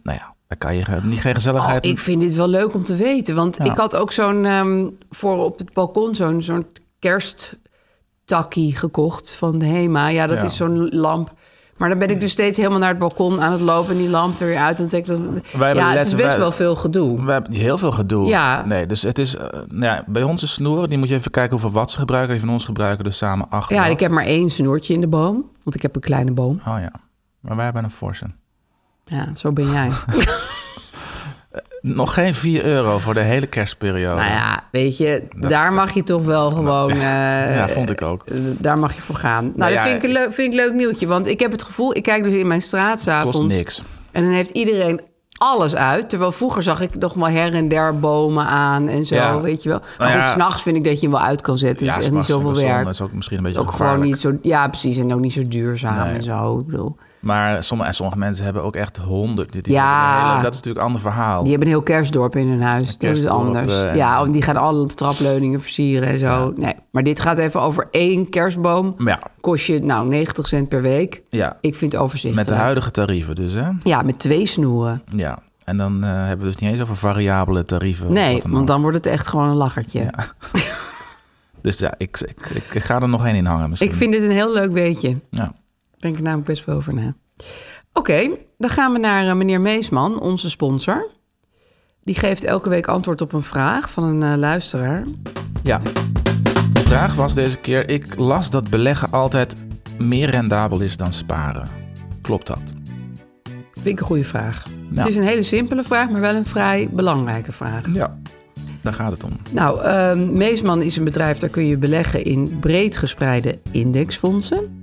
S3: Nou ja, daar kan je ge- niet geen
S2: Oh,
S3: gezelligheid...
S2: ik vind dit wel leuk om te weten. Want
S3: Ja.
S2: ik had ook zo'n ehm, voor op het balkon zo'n zo'n kersttakkie gekocht van de Hema. Ja, dat
S3: Ja.
S2: is zo'n lamp. Maar dan ben ik dus steeds helemaal naar het balkon aan het lopen en die lamp er weer uit. En dan denk ik dat-
S3: Wij hebben
S2: ja, het is
S3: letten-
S2: best
S3: wij-
S2: wel veel gedoe.
S3: We hebben heel veel gedoe.
S2: Ja.
S3: Nee, dus het is... eh, nou ja, bij onze snoeren, die moet je even kijken hoeveel watt ze gebruiken. Die van ons gebruiken dus samen 8
S2: Ja, en
S3: watt.
S2: ik heb maar één snoertje in de boom, want ik heb een kleine boom.
S3: Oh ja, maar wij hebben een Forsen.
S2: Ja, zo ben jij.
S3: Nog geen 4 euro voor de hele kerstperiode.
S2: nou ja, weet je, daar mag je toch wel gewoon... eh,
S3: ja, vond ik ook.
S2: eh, daar mag je voor gaan. Nou,
S3: Nou
S2: dat
S3: ja,
S2: vind ik, een leuk- vind ik een leuk nieuwtje. Want ik heb het gevoel, ik kijk dus in mijn straat s'avonds...
S3: Kost niks.
S2: En dan heeft iedereen alles uit. Terwijl vroeger zag ik nog wel her en der bomen aan en zo,
S3: Ja.
S2: weet je wel. Maar
S3: Nou ja.
S2: goed, s'nachts vind ik dat je hem wel uit kan zetten. Het is echt niet zoveel werk.
S3: Dat is ook misschien een beetje
S2: Ook gewoon
S3: gevaarlijk.
S2: niet zo... Ja, precies. En ook niet zo duurzaam
S3: Nee.
S2: en zo. Ik bedoel,
S3: Maar sommige, en sommige mensen hebben ook echt honderd. Dit, die
S2: Ja.
S3: hebben een hele- dat is natuurlijk een ander verhaal.
S2: die hebben een heel kerstdorp in hun huis. Dat is
S3: kerstdorp,
S2: anders.
S3: eh, en-
S2: ja, want die gaan alle trapleuningen versieren en zo. Nee, maar dit gaat even over één kerstboom.
S3: Ja,
S2: Kost je, nou, 90 cent per week.
S3: ja.
S2: Ik vind het overzichtelijk.
S3: met de huidige tarieven dus, hè?
S2: Ja, met twee snoeren.
S3: Ja. En dan eh, hebben we het dus niet eens over variabele tarieven. of
S2: Nee,
S3: wat dan
S2: want
S3: ook.
S2: dan wordt het echt gewoon een lachertje.
S3: Dus ja, ik, ik, ik ga er nog één in hangen misschien.
S2: Ik vind dit een heel leuk weetje.
S3: Ja.
S2: denk ik namelijk best wel over na. Oké, dan gaan we naar eh, meneer Meesman, onze sponsor. Die geeft elke week antwoord op een vraag van een eh, luisteraar.
S3: ja. De vraag was deze keer... Ik las dat beleggen altijd meer rendabel is dan sparen. Klopt dat?
S2: Vind ik een goede vraag.
S3: Ja.
S2: Het is een hele simpele vraag, maar wel een vrij belangrijke vraag.
S3: Ja. Daar gaat het om.
S2: Nou, ehm, Meesman is een bedrijf, daar kun je beleggen in breed gespreide indexfondsen.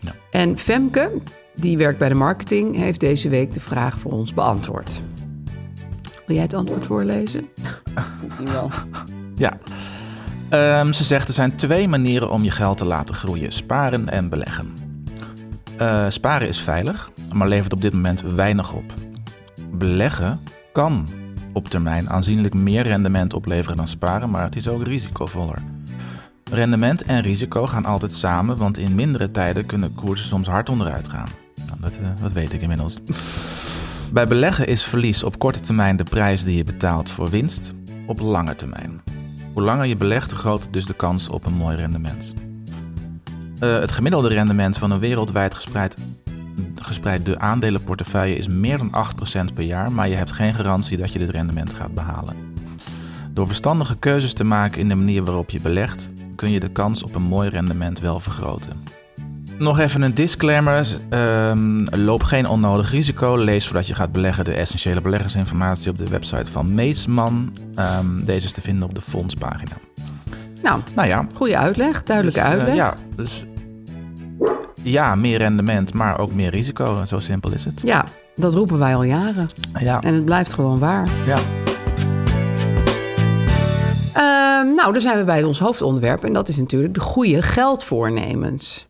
S3: Ja.
S2: En Femke, die werkt bij de marketing, heeft deze week de vraag voor ons beantwoord. Wil jij het antwoord voorlezen? Misschien wel.
S3: Ja. Ehm, ze zegt er zijn twee manieren om je geld te laten groeien: sparen en beleggen. Eh, sparen is veilig, maar levert op dit moment weinig op. Beleggen kan op termijn aanzienlijk meer rendement opleveren dan sparen, maar het is ook risicovoller. Rendement en risico gaan altijd samen, want in mindere tijden kunnen koersen soms hard onderuit gaan. Nou, dat, eh, dat weet ik inmiddels. Bij beleggen is verlies op korte termijn de prijs die je betaalt voor winst op lange termijn. Hoe langer je belegt, hoe groter dus de kans op een mooi rendement. Eh, het gemiddelde rendement van een wereldwijd gespreid, gespreide aandelenportefeuille is meer dan 8% per jaar, maar je hebt geen garantie dat je dit rendement gaat behalen. Door verstandige keuzes te maken in de manier waarop je belegt, kun je de kans op een mooi rendement wel vergroten. Nog even een disclaimer. Ehm, loop geen onnodig risico. Lees voordat je gaat beleggen de essentiële beleggersinformatie op de website van Meesman. Ehm, deze is te vinden op de fondspagina.
S2: Nou,
S3: Nou ja.
S2: Goede uitleg, duidelijke
S3: dus, eh,
S2: uitleg. ja.
S3: ja, dus ja, meer rendement, maar ook meer risico. Zo simpel is het.
S2: dat roepen wij al jaren.
S3: Ja,
S2: En het blijft gewoon waar.
S3: ja.
S2: Ehm, nou, dan zijn we bij ons hoofdonderwerp. En dat is natuurlijk de goede geldvoornemens.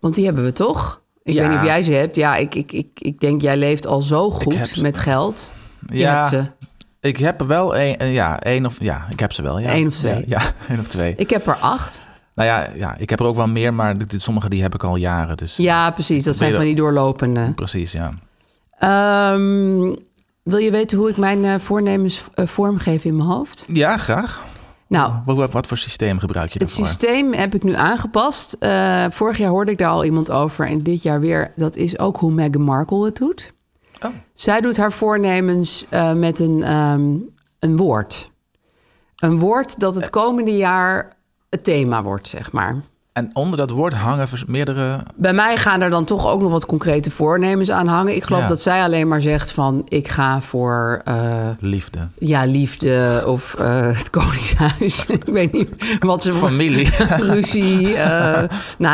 S2: Want die hebben we toch? Ik
S3: Ja.
S2: weet niet of jij ze hebt. Ja, ik, ik, ik, ik denk jij leeft al zo
S3: heb
S2: goed
S3: ze.
S2: met geld. Je
S3: Ja,
S2: hebt ze.
S3: ik heb er wel één. eh, Ja, één of ja, ik heb ze wel. Ja.
S2: Eén of twee.
S3: Ja, ja, één of twee.
S2: Ik heb er acht.
S3: Nou ja, ja, ik heb er ook wel meer, maar dit- dit- sommige die heb ik al jaren. Dus
S2: Ja, precies. Dat zijn
S3: je
S2: van
S3: dat-
S2: die doorlopende.
S3: precies, ja.
S2: Ehm, wil je weten hoe ik mijn eh, voornemens eh, vormgeef in mijn hoofd?
S3: Ja, graag.
S2: Nou,
S3: Wat, wat, wat voor systeem gebruik je
S2: het
S3: daarvoor?
S2: systeem heb ik nu aangepast. Eh, vorig jaar hoorde ik daar al iemand over en dit jaar weer. Dat is ook hoe Meghan Markle het doet.
S3: Oh.
S2: Zij doet haar voornemens eh, met een, ehm, een woord. Een woord dat het komende jaar het thema wordt, zeg maar.
S3: En onder dat woord hangen vers- meerdere...
S2: Bij mij gaan er dan toch ook nog wat concrete voornemens aan hangen. Ik geloof
S3: Ja.
S2: dat zij alleen maar zegt van... ik ga voor eh,
S3: Liefde.
S2: ja, liefde of eh, het koningshuis. ik weet niet wat ze... voor-
S3: Familie.
S2: ruzie, eh,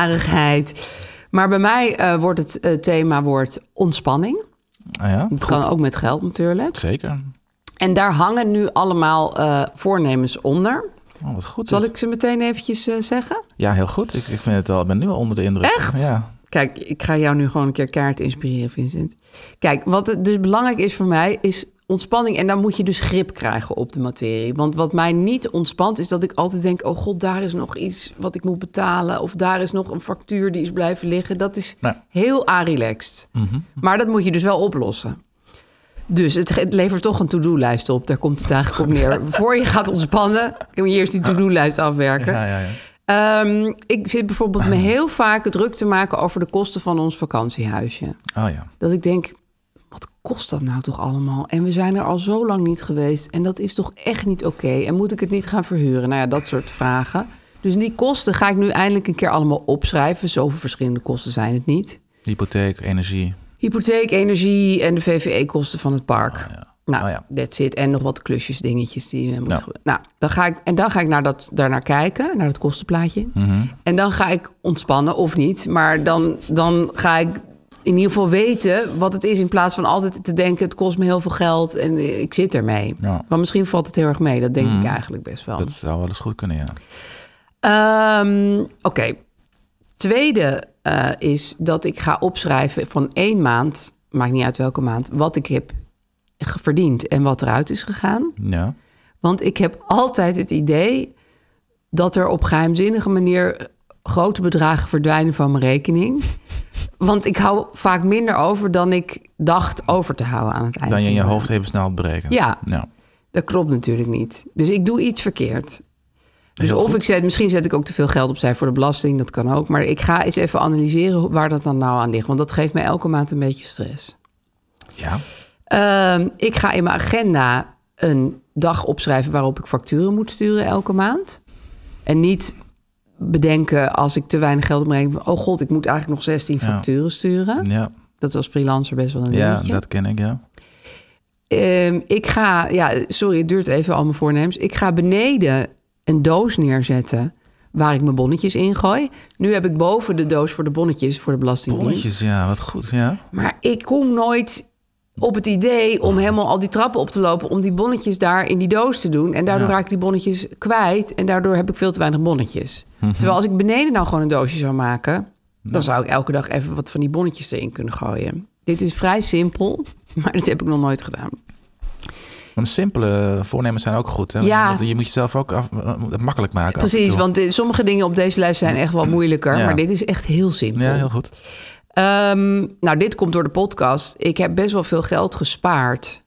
S2: narigheid. Maar bij mij eh, wordt het eh, thema wordt ontspanning.
S3: Ah ja,
S2: Het kan ook met geld natuurlijk.
S3: zeker.
S2: En daar hangen nu allemaal eh, voornemens onder.
S3: Oh, wat goed.
S2: Zal
S3: dit.
S2: ik ze meteen eventjes eh, zeggen?
S3: Ja, heel goed. Ik, ik vind het al, ik ben nu al onder de indruk.
S2: Echt?
S3: Ja.
S2: Kijk, ik ga jou nu gewoon een keer kaart inspireren, Vincent. Kijk, wat het dus belangrijk is voor mij is ontspanning. En dan moet je dus grip krijgen op de materie. Want wat mij niet ontspant is dat ik altijd denk... oh god, daar is nog iets wat ik moet betalen. Of daar is nog een factuur die is blijven liggen. Dat is
S3: Nou.
S2: heel relaxed.
S3: Mhm.
S2: Maar dat moet je dus wel oplossen. Dus het, ge- het levert toch een to-do-lijst op. Daar komt het eigenlijk op neer. Voor je gaat ontspannen, kun je eerst die to-do-lijst afwerken.
S3: Ja, ja, ja.
S2: Ehm, ik zit bijvoorbeeld me heel vaak druk te maken over de kosten van ons vakantiehuisje.
S3: Oh ja.
S2: Dat ik denk, wat kost dat nou toch allemaal? En we zijn er al zo lang niet geweest en dat is toch echt niet oké? En moet ik het niet gaan verhuren? Nou ja, dat soort vragen. Dus die kosten ga ik nu eindelijk een keer allemaal opschrijven. Zoveel verschillende kosten zijn het niet.
S3: Hypotheek, energie.
S2: Hypotheek, energie en de VVE-kosten van het park. Nou,
S3: Oh ja.
S2: that's it. En nog wat klusjes, dingetjes die we moeten...
S3: Ja.
S2: gebeuren. Nou, dan ga ik, en dan ga ik naar dat, daarnaar kijken, naar dat kostenplaatje.
S3: Mhm.
S2: En dan ga ik ontspannen of niet. Maar dan, dan ga ik in ieder geval weten wat het is... in plaats van altijd te denken, het kost me heel veel geld en ik zit ermee.
S3: Ja. Mhm.
S2: Maar misschien valt het heel erg mee. Dat denk ik eigenlijk best wel.
S3: Dat zou wel eens goed kunnen, ja.
S2: Ehm, Oké. Tweede eh, is dat ik ga opschrijven van één maand, maakt niet uit welke maand, wat ik heb ge- verdiend en wat eruit is gegaan.
S3: Ja.
S2: Want ik heb altijd het idee dat er op geheimzinnige manier grote bedragen verdwijnen van mijn rekening. Want ik hou vaak minder over dan ik dacht over te houden aan het eind.
S3: Dan je in je
S2: van de maand.
S3: hoofd even snel breken.
S2: Ja.
S3: ja.
S2: Dat klopt natuurlijk niet. Dus ik doe iets verkeerd. Dus
S3: Heel
S2: of
S3: goed.
S2: ik zet, misschien zet ik ook te veel geld opzij voor de belasting, dat kan ook. Maar ik ga eens even analyseren hoe- waar dat dan nou aan ligt. Want dat geeft mij elke maand een beetje stress.
S3: Ja.
S2: Ehm, ik ga in mijn agenda een dag opschrijven waarop ik facturen moet sturen elke maand. En niet bedenken als ik te weinig geld opbreng. van, Oh god, ik moet eigenlijk nog 16
S3: Ja.
S2: facturen sturen.
S3: Ja.
S2: Dat was freelancer best wel een
S3: Ja,
S2: dingetje.
S3: dat ken ik, ja.
S2: Ehm, ik ga, ja, sorry, het duurt even al mijn voornemens. Ik ga beneden een doos neerzetten waar ik mijn bonnetjes in gooi. Nu heb ik boven de doos voor de bonnetjes voor de belastingdienst.
S3: Bolletjes, ja, wat goed, ja.
S2: Maar ik kom nooit op het idee om helemaal al die trappen op te lopen... om die bonnetjes daar in die doos te doen. En daardoor raak ik die bonnetjes kwijt... en daardoor heb ik veel te weinig bonnetjes. Terwijl als ik beneden nou gewoon een doosje zou maken... dan zou ik elke dag even wat van die bonnetjes erin kunnen gooien. Dit is vrij simpel, maar dat heb ik nog nooit gedaan.
S3: Maar simpele voornemens zijn ook goed, hè.
S2: Ja.
S3: Want Je moet jezelf ook af, het makkelijk maken. af en
S2: Precies,
S3: toe.
S2: want dit- sommige dingen op deze lijst zijn echt wel moeilijker.
S3: Ja.
S2: Maar dit is echt heel simpel.
S3: Ja, heel goed.
S2: Ehm, nou, dit komt door de podcast. Ik heb best wel veel geld gespaard.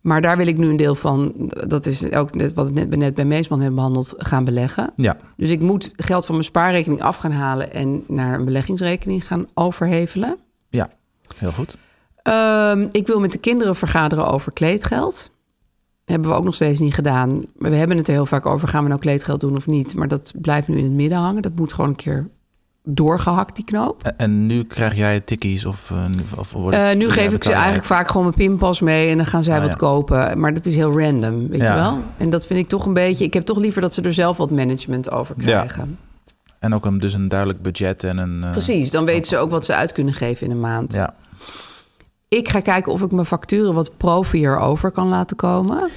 S2: Maar daar wil ik nu een deel van, dat is ook net wat we net, we net bij Meesman hebben behandeld, gaan beleggen.
S3: Ja.
S2: Dus ik moet geld van mijn spaarrekening af gaan halen en naar een beleggingsrekening gaan overhevelen.
S3: Ja. Heel goed.
S2: Ehm, ik wil met de kinderen vergaderen over kleedgeld. Hebben we ook nog steeds niet gedaan. Maar We hebben het er heel vaak over, gaan we nou kleedgeld doen of niet? Maar dat blijft nu in het midden hangen. Dat moet gewoon een keer doorgehakt, die knoop.
S3: En, en nu krijg jij tikkies of... eh, nu- of wordt
S2: Eh,
S3: het-
S2: nu
S3: ja,
S2: geef ik
S3: betaal
S2: ze
S3: jij.
S2: eigenlijk vaak gewoon mijn pinpas mee en dan gaan zij
S3: Ah,
S2: wat
S3: ja.
S2: kopen. Maar dat is heel random, weet
S3: Ja.
S2: je wel? En dat vind ik toch een beetje... Ik heb toch liever dat ze er zelf wat management over krijgen.
S3: En ook een, dus een duidelijk budget en een... eh,
S2: Precies, dan weten ze ook wat ze uit kunnen geven in een maand.
S3: Ja.
S2: Ik ga kijken of ik mijn facturen wat profier over kan laten komen.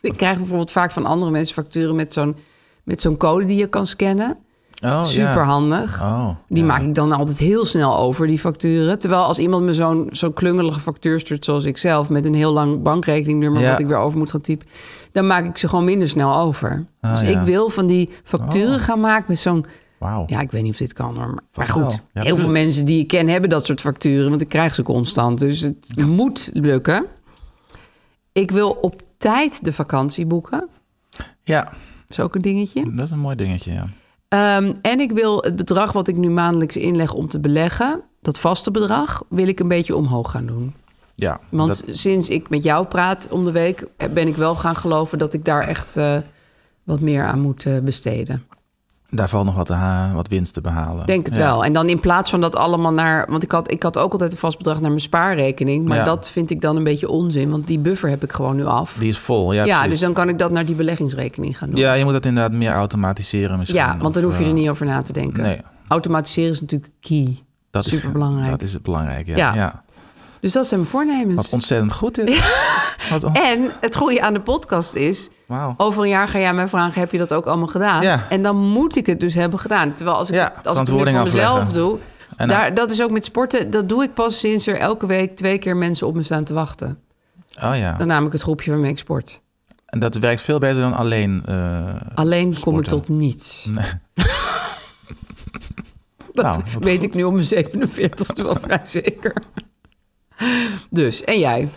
S2: ik krijg bijvoorbeeld vaak van andere mensen facturen met zo'n met zo'n code die je kan scannen.
S3: Oh,
S2: Super handig.
S3: Ja. Oh,
S2: Die maak ik dan altijd heel snel over, die facturen. Terwijl als iemand me zo'n zo'n klungelige factuur stuurt, zoals ik zelf, met een heel lang bankrekeningnummer,
S3: Ja.
S2: wat ik weer over moet gaan typen, dan maak ik ze gewoon minder snel over.
S3: Ah,
S2: dus
S3: ja. Oh.
S2: ik wil van die facturen gaan maken met zo'n.
S3: Wauw.
S2: Ja, ik weet niet of dit kan, hoor, maar, maar
S3: Vast wel.
S2: goed.
S3: Ja,
S2: heel veel
S3: tuurlijk.
S2: mensen die ik ken hebben dat soort facturen, want ik krijg ze constant. Dus het moet lukken. Ik wil op tijd de vakantie boeken.
S3: Ja.
S2: is ook een dingetje.
S3: Dat is een mooi dingetje, ja.
S2: Ehm, en ik wil het bedrag wat ik nu maandelijks inleg om te beleggen, dat vaste bedrag, wil ik een beetje omhoog gaan doen.
S3: Ja,
S2: Want
S3: dat-
S2: sinds ik met jou praat om de week, ben ik wel gaan geloven dat ik daar echt eh, wat meer aan moet eh, besteden.
S3: daar valt nog wat, te ha- wat winst te behalen.
S2: Denk het
S3: Ja.
S2: wel. En dan in plaats van dat allemaal naar. Want ik had, ik had ook altijd een vast bedrag naar mijn spaarrekening. Maar
S3: Ja.
S2: dat vind ik dan een beetje onzin. Want die buffer heb ik gewoon nu af.
S3: Die is vol, ja,
S2: ja,
S3: precies.
S2: dus dan kan ik dat naar die beleggingsrekening gaan doen.
S3: Ja, je moet dat inderdaad meer automatiseren misschien.
S2: Ja, want dan
S3: Of,
S2: hoef je er
S3: eh,
S2: niet over na te denken.
S3: Nee.
S2: Automatiseren is natuurlijk key.
S3: Dat is-
S2: Superbelangrijk.
S3: Dat is het belangrijk, ja.
S2: Ja.
S3: ja.
S2: Dus dat zijn mijn voornemens.
S3: Wat ontzettend goed is. Wat ont-
S2: En het goede aan de podcast is...
S3: Wauw.
S2: over een jaar ga jij mij vragen... heb je dat ook allemaal gedaan?
S3: Ja.
S2: En dan moet ik het dus hebben gedaan. Terwijl als ik,
S3: Ja,
S2: als ik het nu
S3: verantwoording
S2: voor mezelf
S3: afleggen.
S2: doe...
S3: En eh,
S2: daar, dat is ook met sporten. Dat doe ik pas sinds er elke week twee keer mensen op me staan te wachten.
S3: Oh ja.
S2: Dan namelijk het groepje waarmee ik sport.
S3: En dat werkt veel beter dan alleen. eh,
S2: Alleen kom ik
S3: sporten.
S2: tot niets. dat
S3: Nou, wat
S2: weet ik nu om mijn 47ste wel vrij zeker. Dus, en jij?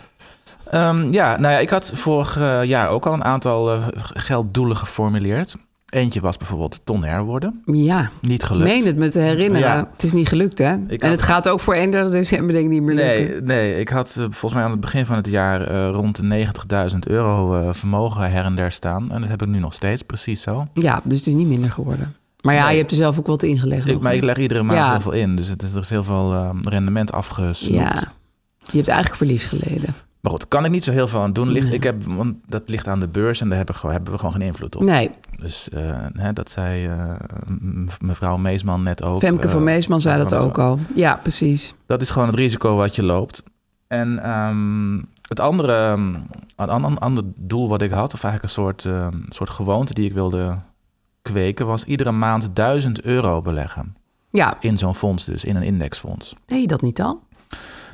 S3: Ehm, ja, nou ja, ik had vorig eh, jaar ook al een aantal eh, g- gelddoelen geformuleerd. Eentje was bijvoorbeeld tonner worden.
S2: Ja,
S3: Niet gelukt.
S2: meen het me te herinneren.
S3: Ja.
S2: Het is niet gelukt, hè? en
S3: had-
S2: het gaat ook voor 31 december denk ik niet meer lukken.
S3: Nee, nee, ik had eh, volgens mij aan het begin van het jaar eh, rond de 90.000 euro eh, vermogen her en der staan. En dat heb ik nu nog steeds, precies zo.
S2: Ja, dus het is niet minder geworden. Maar ja,
S3: Nee.
S2: je hebt er zelf ook wat ingelegd.
S3: Ik,
S2: nog,
S3: maar
S2: hè?
S3: ik leg iedere maand
S2: Ja.
S3: heel veel in, dus het is, er is heel veel eh, rendement afgesnoept.
S2: Ja, je hebt eigenlijk verlies geleden.
S3: Maar goed, kan ik niet zo heel veel aan doen. Ligt, ik heb, want dat ligt aan de beurs en daar hebben, gewoon- hebben we gewoon geen invloed op.
S2: Nee,
S3: Dus eh, hè, dat zei eh, m- mevrouw Meesman net ook.
S2: Femke
S3: eh,
S2: van Meesman zei dat
S3: van-
S2: ook al. Ja, precies.
S3: Dat is gewoon het risico wat je loopt. En ehm, het andere, ehm, een an- an- ander doel wat ik had, of eigenlijk een soort, ehm, soort gewoonte die ik wilde kweken, was iedere maand 1000 euro beleggen.
S2: Ja,
S3: In zo'n fonds dus, in een indexfonds.
S2: deed je dat niet al?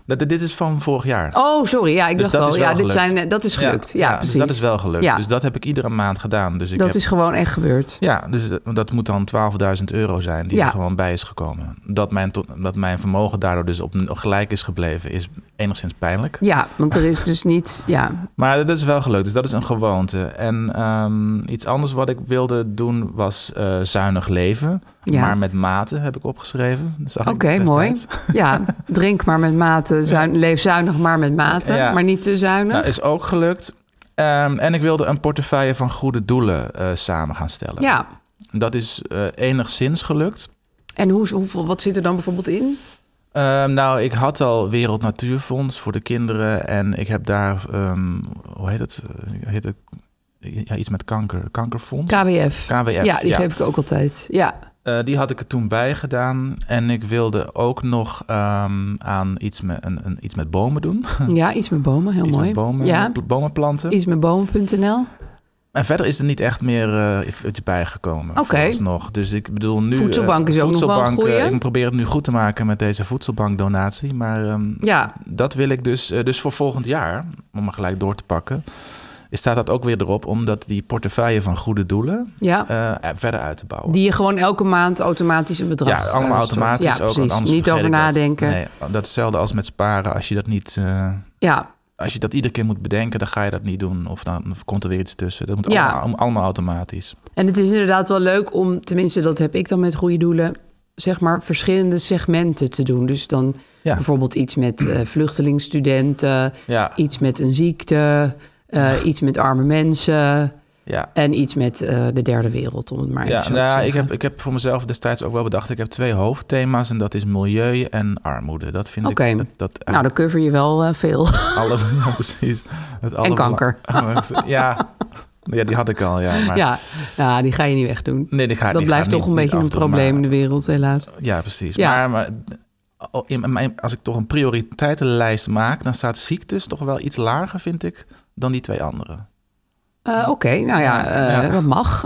S3: Dat, dit is van vorig jaar.
S2: Oh, sorry. Ja, ik
S3: Dus
S2: dacht
S3: dat
S2: al.
S3: is wel
S2: Ja, dit
S3: gelukt.
S2: zijn, eh, dat is gelukt. Ja,
S3: dus
S2: precies.
S3: dat is wel gelukt.
S2: Ja.
S3: Dus dat heb ik iedere maand gedaan. Dus ik
S2: Dat
S3: heb,
S2: is gewoon echt gebeurd.
S3: Ja, dus dat, dat moet dan 12.000 euro zijn die
S2: Ja.
S3: er gewoon bij is gekomen. Dat mijn, to- dat mijn vermogen daardoor dus op gelijk is gebleven, is enigszins pijnlijk.
S2: Ja, want er is dus niet... Ja,
S3: Maar dat is wel gelukt, dus dat is een gewoonte. En ehm, iets anders wat ik wilde doen was eh, zuinig leven.
S2: Ja.
S3: Maar met mate heb ik opgeschreven. Dat zag ik
S2: oké, mooi.
S3: destijds. Nou,
S2: Ja, drink maar met mate. Zuin, Leef zuinig maar met mate.
S3: Ja.
S2: Maar niet te zuinig.
S3: Nou, is ook gelukt. Ehm, en ik wilde een portefeuille van goede doelen eh, samen gaan stellen.
S2: ja.
S3: Dat is eh, enigszins gelukt.
S2: En hoe, hoeveel, wat zit er dan bijvoorbeeld in?
S3: Ehm, nou, ik had al Wereld Natuurfonds voor de kinderen. En ik heb daar, ehm, hoe heet het? Eh, Heet het ja, iets met kanker. Kankerfonds?
S2: KWF.
S3: KWF,
S2: Ja, die
S3: ja.
S2: geef ik ook altijd. Ja,
S3: Eh, die had ik er toen bij gedaan. En ik wilde ook nog ehm, aan iets met, een, een, iets met bomen doen.
S2: ja iets met bomen. Heel
S3: iets
S2: Oh, mooi.
S3: met bomen,
S2: ja,
S3: pl- bomen planten.
S2: iets met bomen.nl.
S3: En verder is er niet echt meer eh, iets bijgekomen.
S2: Oké.
S3: Nog. Dus ik bedoel nu... eh,
S2: Voedselbank is ook nog wel een
S3: voedselbank, eh,
S2: goeie.
S3: ik probeer het nu goed te maken met deze voedselbankdonatie. Maar ehm,
S2: Ja,
S3: dat wil ik dus, eh, dus voor volgend jaar, om maar gelijk door te pakken, staat dat ook weer erop, omdat die portefeuille van goede doelen
S2: ja.
S3: eh, eh, verder uit te bouwen.
S2: die je gewoon elke maand automatisch een bedrag...
S3: ja, allemaal
S2: eh, stort.
S3: automatisch
S2: Ja,
S3: ook. want
S2: precies.
S3: anders
S2: Niet
S3: vergeet
S2: over
S3: ik dat.
S2: nadenken.
S3: Nee, dat is hetzelfde als met sparen. Als je dat niet, eh,
S2: Ja,
S3: als je dat iedere keer moet bedenken, dan ga je dat niet doen. Of dan komt er weer iets tussen. Dat moet
S2: Ja.
S3: allemaal, allemaal automatisch.
S2: En het is inderdaad wel leuk om, tenminste dat heb ik dan met goede doelen, zeg maar verschillende segmenten te doen. Dus dan
S3: Ja.
S2: bijvoorbeeld iets met eh, vluchtelingsstudenten,
S3: Ja.
S2: iets met een ziekte, eh, iets met arme mensen
S3: Ja.
S2: en iets met eh, de derde wereld, om het maar even
S3: Ja,
S2: zo
S3: nou,
S2: te
S3: ja,
S2: zeggen.
S3: ik, heb, ik heb voor mezelf destijds ook wel bedacht. Ik heb twee hoofdthema's en dat is milieu en armoede. Dat vind
S2: Oké.
S3: ik. Dat, dat
S2: Nou, dan cover je wel eh, veel.
S3: alle, ja, precies. Het alle-
S2: kanker.
S3: ja. ja, die had ik al. Ja, maar,
S2: ja, nou, die ga je niet wegdoen.
S3: Nee, die ga,
S2: Dat
S3: die
S2: blijft
S3: ga
S2: toch
S3: niet-
S2: een
S3: niet
S2: beetje een
S3: afdoen, maar-
S2: probleem in de wereld, helaas.
S3: Ja, precies.
S2: Ja.
S3: Maar, maar oh, in mijn- als ik toch een prioriteitenlijst maak, dan staat ziektes toch wel iets lager, vind ik, dan die twee andere.
S2: Eh, Oké, nou ja,
S3: Ja,
S2: eh,
S3: ja.
S2: dat mag.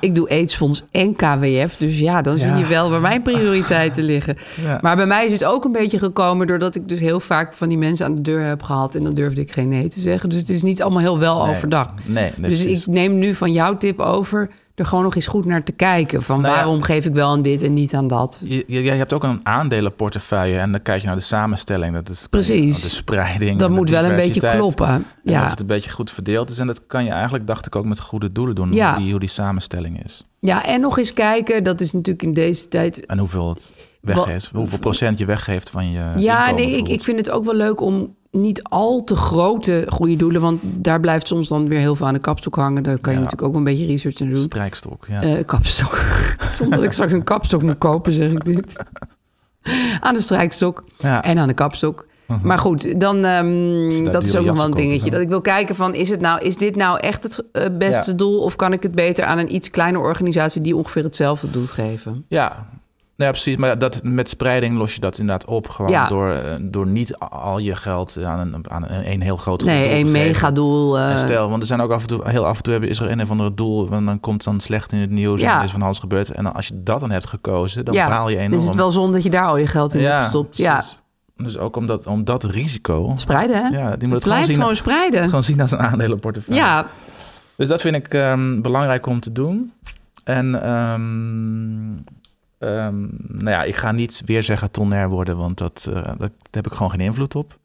S2: ik doe AIDS-fonds en KWF, dus ja, dan
S3: Ja.
S2: zie je wel waar mijn prioriteiten liggen.
S3: Ja.
S2: Maar bij mij is het ook een beetje gekomen doordat ik dus heel vaak van die mensen aan de deur heb gehad en dan durfde ik geen nee te zeggen. Dus het is niet allemaal heel wel
S3: Nee.
S2: overdag.
S3: Nee, nee,
S2: dus
S3: precies.
S2: ik neem nu van jouw tip over er gewoon nog eens goed naar te kijken. Van
S3: Nou ja.
S2: waarom geef ik wel aan dit en niet aan dat?
S3: Je, je, je hebt ook een aandelenportefeuille en dan kijk je naar de samenstelling. Dat is
S2: Precies.
S3: De spreiding.
S2: Dat
S3: en de
S2: moet wel een beetje
S3: diversiteit.
S2: kloppen.
S3: En
S2: Ja.
S3: Of het een beetje goed verdeeld is. En dat kan je eigenlijk, dacht ik, ook met goede doelen doen.
S2: Ja.
S3: Hoe, die, hoe die samenstelling is.
S2: ja, en nog eens kijken. Dat is natuurlijk in deze tijd
S3: En hoeveel het weggeeft. Hoeveel procent je weggeeft van je.
S2: Ja,
S3: inkomen
S2: nee, ik, ik
S3: bijvoorbeeld.
S2: vind het ook wel leuk om niet al te grote goede doelen, want daar blijft soms dan weer heel veel aan de kapstok hangen. Daar kan je
S3: Ja.
S2: natuurlijk ook wel een beetje research naar doen.
S3: Strijkstok. Ja.
S2: Eh kapstok. Zonder dat ik straks een kapstok moet kopen, zeg ik dit. Aan de strijkstok
S3: Ja. Mhm.
S2: en aan de kapstok. Maar goed, dan, ehm,
S3: daar
S2: dat is
S3: dure
S2: ook nog wel een
S3: jassen
S2: dingetje.
S3: kopen?
S2: Dat ik wil kijken van, is, het nou, is dit nou echt het eh, beste
S3: Ja.
S2: doel... of kan ik het beter aan een iets kleinere organisatie... die ongeveer hetzelfde doet geven?
S3: Ja. Nou ja, precies. Maar dat, met spreiding los je dat inderdaad op. Gewoon
S2: Ja.
S3: door, eh, door niet al je geld aan een, aan een, een heel groot
S2: Nee,
S3: doel te
S2: één
S3: geven.
S2: megadoel. eh,
S3: En stel, want er zijn ook af en toe, heel af en toe hebben- is er een of andere doel. En dan komt dan slecht in het nieuws.
S2: Ja.
S3: En er is van alles gebeurd. En dan, als je dat dan hebt gekozen, dan baal je enorm.
S2: Dus is het wel zonde dat je daar al je geld in hebt gestopt. Ja,
S3: precies. Dus ook om dat, om dat risico.
S2: spreiden hè?
S3: Ja, die moet het gewoon
S2: Blijf
S3: zien,
S2: gewoon spreiden.
S3: gewoon zien als een aandelenportefeuille.
S2: ja,
S3: Dus dat vind ik ehm, belangrijk om te doen. En ehm, ehm, nou ja, ik ga niet weer zeggen tonner worden, want dat, eh, dat, daar heb ik gewoon geen invloed op.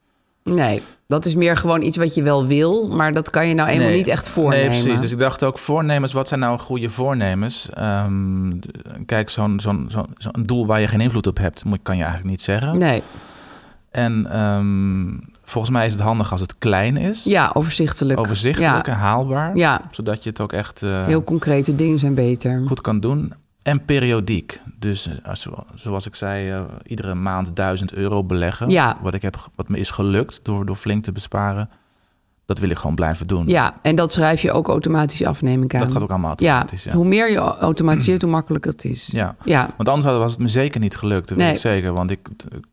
S2: nee. Dat is meer gewoon iets wat je wel wil, maar dat kan je nou eenmaal
S3: Nee.
S2: niet echt voornemen.
S3: Nee, precies. Dus ik dacht ook, voornemens, wat zijn nou goede voornemens? Ehm, d- kijk, zo'n zo'n zo'n zo'n doel waar je geen invloed op hebt, moet, kan je eigenlijk niet zeggen.
S2: Nee,
S3: En ehm, volgens mij is het handig als het klein is,
S2: ja, overzichtelijk.
S3: overzichtelijk
S2: Ja,
S3: en haalbaar.
S2: Ja.
S3: Zodat je het ook echt... eh,
S2: heel concrete dingen zijn beter.
S3: goed kan doen. En periodiek. Dus eh, als- zoals ik zei, eh, iedere maand 1000 euro beleggen.
S2: Ja.
S3: Wat, ik heb, ge- wat me is gelukt door, door flink te besparen. Dat wil ik gewoon blijven doen.
S2: Ja, en dat schrijf je ook automatisch af, neem ik aan.
S3: Dat gaat ook allemaal automatisch. Ja.
S2: Hoe meer je automatiseert, hoe makkelijker het is.
S3: Ja.
S2: ja.
S3: Want anders had- was het me zeker niet gelukt. Dat
S2: Nee.
S3: weet ik zeker. Want ik,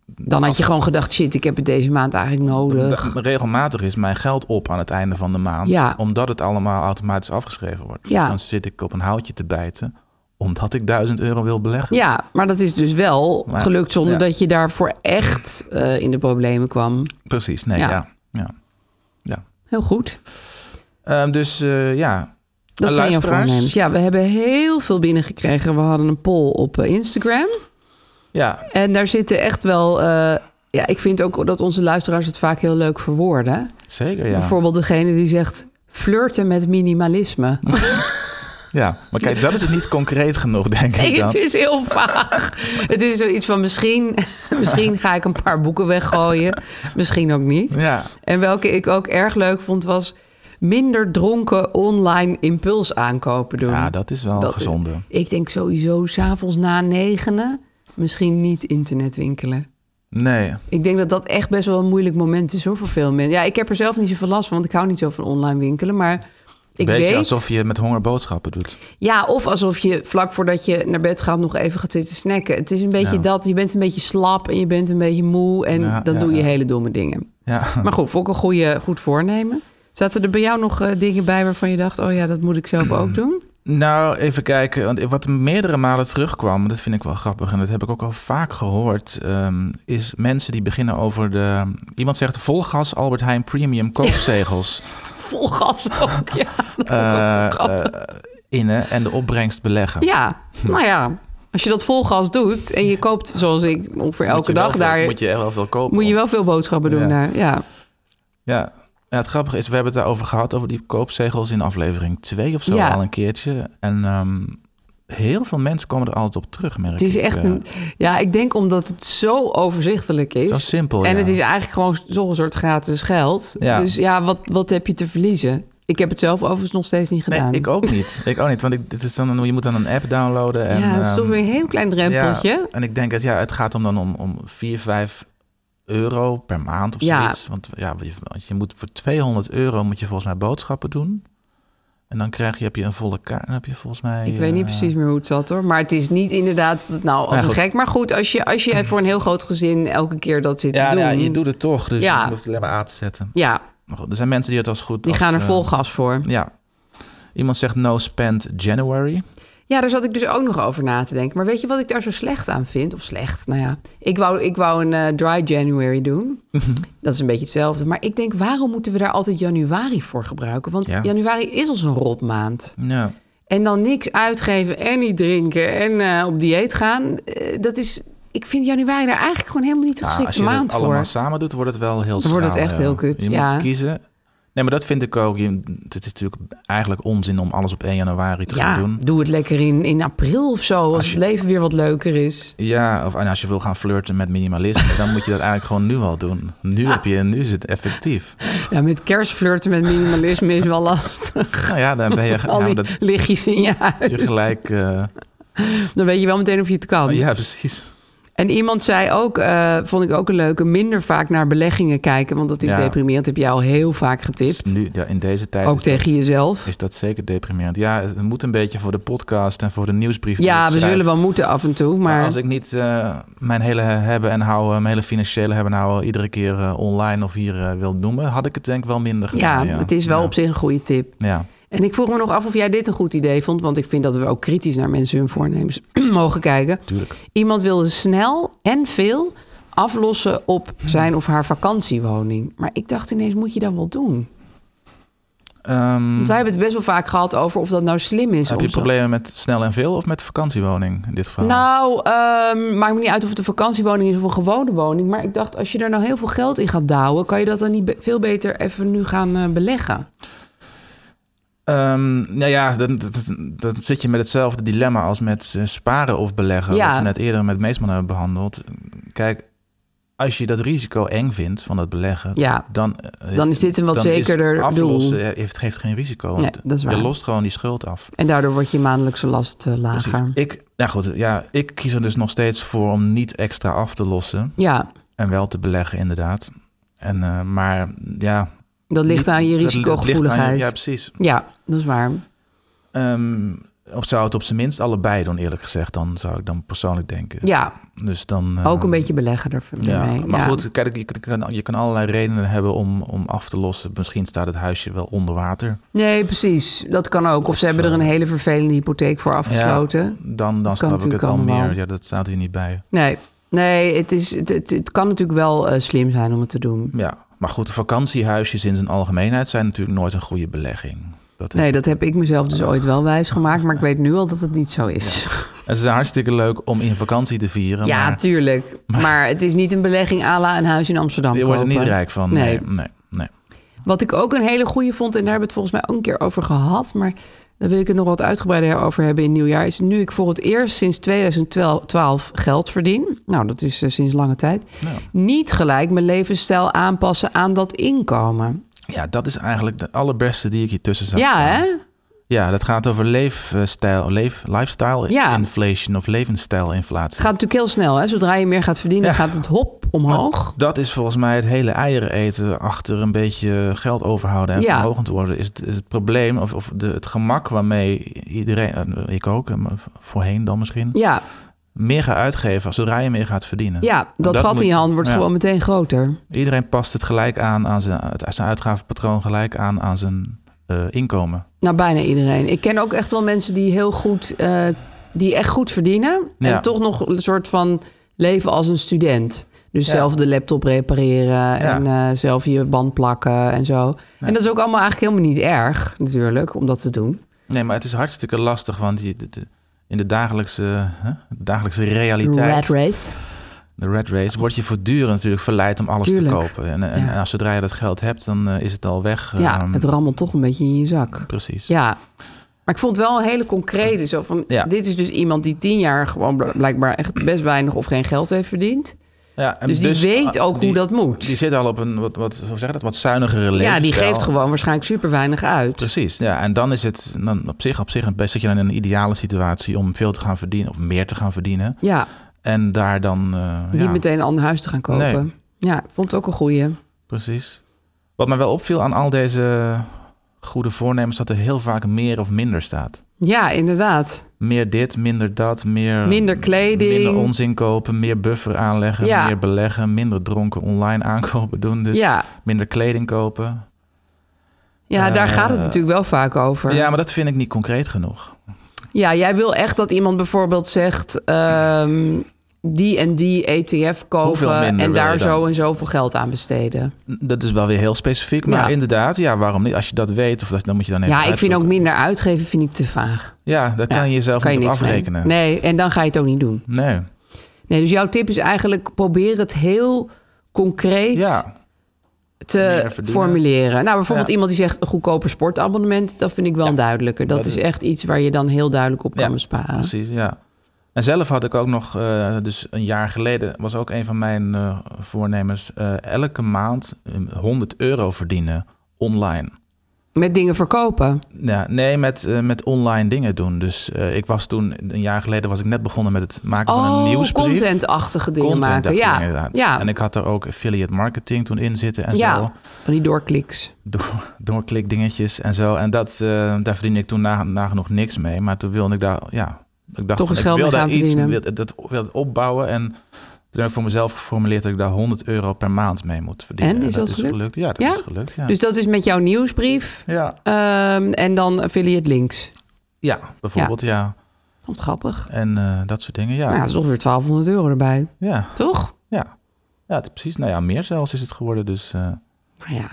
S2: Dan had je gewoon gedacht, shit, ik heb het deze maand eigenlijk nodig.
S3: da- regelmatig is mijn geld op aan het einde van de maand.
S2: Ja.
S3: Omdat het allemaal automatisch afgeschreven wordt.
S2: Ja.
S3: Dan zit ik op een houtje te bijten. Omdat ik 1000 euro wil beleggen.
S2: Ja, maar dat is dus wel
S3: Maar-
S2: gelukt zonder
S3: ja.
S2: dat je daarvoor echt eh, in de problemen kwam.
S3: Precies. Nee,
S2: Ja.
S3: ja. ja. ja.
S2: Heel goed.
S3: Ehm, dus eh, ja.
S2: Dat
S3: Eh,
S2: zijn jouw
S3: luisteraars?
S2: voornemens. Ja, we hebben heel veel binnengekregen. We hadden een poll op eh, Instagram.
S3: Ja,
S2: En daar zitten echt wel... eh, ja, ik vind ook dat onze luisteraars het vaak heel leuk verwoorden.
S3: zeker ja.
S2: Bijvoorbeeld degene die zegt... flirten met minimalisme.
S3: Ja, maar kijk, dat is het niet concreet genoeg, denk ik
S2: het
S3: dan.
S2: is heel vaag. het is zoiets van misschien, misschien ga ik een paar boeken weggooien. misschien ook niet.
S3: Ja,
S2: En welke ik ook erg leuk vond was minder dronken online impuls aankopen doen.
S3: ja, dat is wel
S2: Um, Dat-
S3: gezonde.
S2: Ik denk sowieso s'avonds na negenen misschien niet internet winkelen.
S3: Nee,
S2: Ik denk dat dat echt best wel een moeilijk moment is hoor voor veel mensen. Ja, ik heb er zelf niet zoveel last van, want ik hou niet zo van online winkelen, maar ik
S3: beetje
S2: weet...
S3: alsof je met honger boodschappen doet.
S2: Ja, of alsof je vlak voordat je naar bed gaat nog even gaat zitten snacken. Het is een beetje
S3: Ja.
S2: dat, je bent een beetje slap en je bent een beetje moe en
S3: Ja,
S2: dan
S3: ja,
S2: doe je
S3: ja.
S2: hele domme dingen.
S3: Ja.
S2: Maar goed, vond ik een goede, goed voornemen. Zaten er bij jou nog eh, dingen bij waarvan je dacht... oh ja, dat moet ik zelf
S3: Hmm.
S2: ook doen?
S3: Nou, even kijken. Want wat meerdere malen terugkwam, dat vind ik wel grappig en dat heb ik ook al vaak gehoord, ehm, is mensen die beginnen over de... Iemand zegt vol gas Albert Heijn premium koopzegels
S2: Vol gas ook, ja. Dat vond ik ook
S3: eh,
S2: zo grappig.
S3: eh, innen en de opbrengst beleggen.
S2: ja, nou ja. Als je dat vol gas doet en je koopt, zoals ik, ongeveer
S3: Moet
S2: elke
S3: je wel
S2: dag...
S3: veel-
S2: daar
S3: moet je er wel veel kopen.
S2: moet je wel veel boodschappen doen.
S3: Ja.
S2: Daar. Ja.
S3: Ja. ja, het grappige is, we hebben het daarover gehad, over die koopzegels in aflevering 2 of zo
S2: Ja.
S3: al een keertje. En ehm, heel veel mensen komen er altijd op terug, merk
S2: Het is
S3: ik.
S2: echt
S3: Eh,
S2: een. Ja, ik denk omdat het zo overzichtelijk is.
S3: Zo simpel,
S2: En
S3: ja.
S2: het is eigenlijk gewoon zo'n soort gratis geld.
S3: Ja.
S2: Dus ja, wat, wat heb je te verliezen? Ik heb het zelf overigens nog steeds niet gedaan.
S3: Nee, ik ook niet. Ik ook niet, want ik, dit is dan, een- je moet dan een app downloaden. En,
S2: ja, dat is toch
S3: ehm,
S2: weer een heel klein drempeltje.
S3: ja, en ik denk dat ja, het gaat om dan om, om 4, 5 euro per maand of
S2: Ja.
S3: zoiets. Want ja, je, want je moet voor 200 euro moet je volgens mij boodschappen doen. En dan krijg je, heb je een volle kaart. Dan heb je volgens mij...
S2: Ik weet niet
S3: eh,
S2: precies meer hoe het zat hoor. Maar het is niet inderdaad dat het nou als
S3: Ja,
S2: een
S3: goed.
S2: gek. Maar goed, als je, als je voor een heel groot gezin elke keer dat zit
S3: Ja,
S2: te doen.
S3: nou ja, je doet het toch, dus
S2: Ja.
S3: je hoeft het alleen maar aan te zetten.
S2: ja,
S3: Maar goed, er zijn mensen die het als goed...
S2: die
S3: als,
S2: gaan er
S3: eh,
S2: vol gas voor.
S3: Ja. Iemand zegt no spend January.
S2: Ja, daar zat ik dus ook nog over na te denken. Maar weet je wat ik daar zo slecht aan vind? Of slecht, nou ja. Ik wou, ik wou een eh, dry January doen.
S3: Mhm.
S2: Dat is een beetje hetzelfde. Maar ik denk, waarom moeten we daar altijd januari voor gebruiken? Want
S3: Ja.
S2: januari is al zo'n rotmaand.
S3: Ja.
S2: En dan niks uitgeven en niet drinken en eh, op dieet gaan. Eh, dat is, ik vind januari daar eigenlijk gewoon helemaal niet de
S3: Ja, als
S2: geschikte
S3: je
S2: maand
S3: het allemaal
S2: voor.
S3: samen doet, wordt het wel heel
S2: Dan
S3: schraal.
S2: wordt het echt
S3: ja.
S2: heel kut,
S3: Je
S2: ja.
S3: moet kiezen. Nee, maar dat vind ik ook. Je- Het is natuurlijk eigenlijk onzin om alles op 1 januari te
S2: Ja,
S3: gaan doen.
S2: doe het lekker in, in april of zo, als,
S3: je-
S2: het leven weer wat leuker is.
S3: Ja, of en als je wil gaan flirten met minimalisme, dan moet je dat eigenlijk gewoon nu al doen. Nu heb je, nu is het effectief.
S2: Ja, met kerstflirten met minimalisme is wel lastig.
S3: Nou ja, dan ben je,
S2: Al
S3: nou,
S2: die
S3: dat,
S2: lichtjes in je huis.
S3: je gelijk. eh,
S2: Dan weet je wel meteen of je het kan.
S3: Oh, ja, precies.
S2: En iemand zei ook, eh, vond ik ook een leuke, minder vaak naar beleggingen kijken. Want dat is
S3: Ja.
S2: deprimerend, heb jij al heel vaak getipt.
S3: Nu, ja, in deze tijd
S2: Ook
S3: is, dat,
S2: tegen jezelf.
S3: is dat zeker deprimerend. Ja, het moet een beetje voor de podcast en voor de nieuwsbrief. die ik
S2: Ja, we
S3: schrijf.
S2: zullen wel moeten af en toe.
S3: Maar,
S2: Maar
S3: als ik niet eh, mijn hele hebben en houden, mijn hele financiële hebben en houden, iedere keer eh, online of hier eh, wil noemen, had ik het denk ik wel minder
S2: ja,
S3: gedaan.
S2: het is wel
S3: Ja.
S2: op zich een goede tip.
S3: Ja.
S2: En ik vroeg me nog af of jij dit een goed idee vond. Want ik vind dat we ook kritisch naar mensen hun voornemens mogen kijken.
S3: Tuurlijk.
S2: Iemand wilde snel en veel aflossen op zijn of haar vakantiewoning. Maar ik dacht ineens, moet je dat wel doen?
S3: Ehm,
S2: Want wij hebben het best wel vaak gehad over of dat nou slim is.
S3: heb
S2: om
S3: je
S2: zo-
S3: problemen met snel en veel of met vakantiewoning in dit geval?
S2: Nou, ehm, maakt me niet uit of het een vakantiewoning is of een gewone woning. Maar ik dacht, als je daar nou heel veel geld in gaat douwen... kan je dat dan niet be- veel beter even nu gaan eh, beleggen?
S3: Ehm, nou ja, dan, dan, dan zit je met hetzelfde dilemma als met eh, sparen of beleggen.
S2: Ja.
S3: Wat we net eerder met Meesman hebben behandeld. Kijk, als je dat risico eng vindt van dat beleggen,
S2: Ja.
S3: dan, eh,
S2: Dan is dit een wat
S3: dan
S2: zekerder
S3: is
S2: doel.
S3: aflossen eh, heeft, geeft geen risico.
S2: Nee,
S3: want
S2: dat is waar.
S3: Je lost gewoon die schuld af.
S2: En daardoor wordt je maandelijkse last eh,
S3: Precies.
S2: lager.
S3: Ik, nou goed, ja, ik kies er dus nog steeds voor om niet extra af te lossen
S2: Ja,
S3: en wel te beleggen inderdaad. En, eh, maar ja...
S2: dat ligt
S3: niet-
S2: aan je
S3: dat ligt- ligt aan je-
S2: risicogevoeligheid.
S3: Ja, precies.
S2: Ja, dat is waar.
S3: Ehm, of zou het op zijn minst allebei doen, eerlijk gezegd. Dan zou ik dan persoonlijk denken.
S2: Ja,
S3: Dus dan, eh,
S2: ook een beetje beleggen er
S3: Ja,
S2: mee.
S3: maar
S2: ja.
S3: goed, kijk, je kan, je kan allerlei redenen hebben om, om af te lossen. Misschien staat het huisje wel onder water.
S2: Nee, precies. Dat kan ook. Of ze hebben er een
S3: eh,
S2: hele vervelende hypotheek voor afgesloten.
S3: Dan, dan snap ik
S2: natuurlijk
S3: het al
S2: allemaal.
S3: meer. Ja, dat staat hier niet bij.
S2: Nee, nee het, is, het, het, het kan natuurlijk wel eh, slim zijn om het te doen.
S3: Ja, maar goed, vakantiehuisjes in zijn algemeenheid zijn natuurlijk nooit een goede belegging. Dat
S2: Nee, dat heb ik mezelf dus ooit wel wijs gemaakt, maar ik weet nu al dat het niet zo is.
S3: Het is hartstikke leuk om in vakantie te vieren,
S2: Ja,
S3: maar
S2: tuurlijk. Maar, het is niet een belegging à la een huis in Amsterdam
S3: je wordt er niet
S2: kopen.
S3: rijk van. Nee, nee, nee.
S2: Wat ik ook een hele goede vond, en daar hebben we het volgens mij ook een keer over gehad, maar daar wil ik het nog wat uitgebreider over hebben in het nieuwjaar, is nu ik voor het eerst sinds 2012 geld verdien, nou dat is eh, sinds lange tijd, niet gelijk mijn levensstijl aanpassen aan dat inkomen.
S3: Ja, dat is eigenlijk de allerbeste die ik hier tussen zou
S2: ja,
S3: staan.
S2: hè?
S3: Ja, dat gaat over leefstijl, leef, lifestyle
S2: Ja.
S3: inflation of levensstijlinflatie.
S2: Het gaat natuurlijk heel snel, hè? Zodra je meer gaat verdienen,
S3: Ja.
S2: gaat het hop omhoog.
S3: Dat is volgens mij het hele eieren eten achter een beetje geld overhouden en
S2: Ja.
S3: vermogend worden. Is het, is het probleem of, of de, het gemak waarmee iedereen, eh, ik ook, eh, maar voorheen dan misschien,
S2: Ja,
S3: meer gaat uitgeven zodra je meer gaat verdienen.
S2: ja dat,
S3: Dat
S2: gat
S3: moet-
S2: in je hand wordt
S3: ja.
S2: gewoon meteen groter.
S3: Iedereen past het gelijk aan, aan zijn, het- zijn uitgavenpatroon gelijk aan aan zijn eh, inkomen.
S2: Nou, bijna iedereen. Ik ken ook echt wel mensen die heel goed, eh, die echt goed verdienen.
S3: Ja.
S2: En toch nog een soort van leven als een student. Dus
S3: Ja.
S2: zelf de laptop repareren en eh, zelf je band plakken en zo. En dat is ook allemaal eigenlijk helemaal niet erg, natuurlijk, om dat te doen.
S3: Nee, maar het is hartstikke lastig, want je, de- de- in de dagelijkse, hè, dagelijkse realiteit,
S2: Red race.
S3: de red race, word je voortdurend natuurlijk verleid om alles
S2: Tuurlijk.
S3: te kopen. En, en,
S2: Ja.
S3: en als zodra je dat geld hebt, dan eh, is het al weg.
S2: ja,
S3: ehm,
S2: het rammelt toch een beetje in je zak.
S3: Precies.
S2: Ja. Maar ik vond het wel een hele concrete. Zo van,
S3: Ja.
S2: Dit is dus iemand die tien jaar gewoon bl- blijkbaar echt best weinig of geen geld heeft verdiend.
S3: Ja, en
S2: Dus die weet
S3: ah,
S2: ook hoe dat moet.
S3: Die zit al op een wat, wat, hoe zeg je dat, wat zuinigere levensstijl.
S2: Ja, die geeft gewoon waarschijnlijk super weinig uit.
S3: Precies, ja. En dan is het dan op zich, op zich een- zit je dan in een ideale situatie om veel te gaan verdienen of meer te gaan verdienen.
S2: Ja,
S3: En daar dan... eh,
S2: niet
S3: ja.
S2: meteen een ander huis te gaan kopen.
S3: Nee.
S2: Ja, ik vond het ook een goeie.
S3: Precies. Wat mij wel opviel aan al deze goede voornemens, dat er heel vaak meer of minder staat.
S2: Ja, inderdaad.
S3: Meer dit, minder dat, meer...
S2: Minder kleding.
S3: Minder onzin kopen, meer buffer aanleggen,
S2: Ja.
S3: meer beleggen, minder dronken online aankopen doen. Dus
S2: ja,
S3: minder kleding kopen.
S2: ja daar
S3: eh,
S2: gaat het natuurlijk wel vaak over.
S3: Ja,
S2: Ja,
S3: maar dat vind ik niet concreet genoeg.
S2: jij wil echt dat iemand bijvoorbeeld zegt... ehm, die en die ETF
S3: Hoeveel
S2: kopen
S3: minder
S2: en
S3: wil je
S2: daar
S3: dan?
S2: zo en zoveel geld aan besteden.
S3: Dat is wel weer heel specifiek, maar
S2: Ja.
S3: inderdaad, ja, waarom niet? Als je dat weet, of dat, dan moet je dan even
S2: ja, ik vind ook
S3: uitzoeken.
S2: minder uitgeven vind ik te vaag.
S3: Ja, daar kan je jezelf
S2: Kan je
S3: niet op
S2: niks mee.
S3: afrekenen.
S2: Nee, en dan ga je het ook niet doen.
S3: Nee.
S2: Nee, dus jouw tip is eigenlijk probeer het heel concreet
S3: Ja, meer
S2: te
S3: verdienen.
S2: formuleren. Nou, bijvoorbeeld
S3: Ja.
S2: iemand die zegt een goedkoper sportabonnement, dat vind ik wel duidelijker. Dat,
S3: dat
S2: is
S3: is-
S2: echt iets waar je dan heel duidelijk op kan besparen.
S3: Precies, ja. En zelf had ik ook nog, eh, dus een jaar geleden was ook een van mijn eh, voornemens, eh, elke maand eh, 100 euro verdienen online.
S2: Met dingen verkopen.
S3: Ja, nee, met, eh, met online dingen doen. Dus eh, ik was toen, een jaar geleden was ik net begonnen met het maken van een
S2: Oh,
S3: nieuwsbrief.
S2: contentachtige dingen
S3: Contentachtige
S2: maken. Ja,
S3: dingen, inderdaad.
S2: ja.
S3: En ik had er ook affiliate marketing toen in zitten en
S2: ja.
S3: zo.
S2: van die doorkliks.
S3: Door, doorklikdingetjes en zo. En dat, eh, daar verdiende ik toen na- nagenoeg niks mee. Maar toen wilde ik daar, ja... Ik dacht,
S2: Toch eens
S3: van,
S2: geld
S3: ik wil
S2: mee
S3: daar
S2: gaan
S3: iets,
S2: verdienen.
S3: wil, dat, wil het opbouwen. En toen heb ik voor mezelf geformuleerd dat ik daar 100 euro per maand mee moet verdienen.
S2: En, is dat
S3: is
S2: gelukt?
S3: Ja, dat
S2: Ja?
S3: is gelukt, ja.
S2: Dus dat is met jouw nieuwsbrief
S3: ja.
S2: ehm, en dan affiliate links. Oh,
S3: ja, bijvoorbeeld, ja.
S2: Wat grappig.
S3: En eh, dat soort dingen,
S2: Nou, ja, dat is ongeveer 1200 euro erbij,
S3: ja.
S2: toch?
S3: Ja. Ja, het is precies. Nou ja, meer zelfs is het geworden, dus eh,
S2: Nou ja,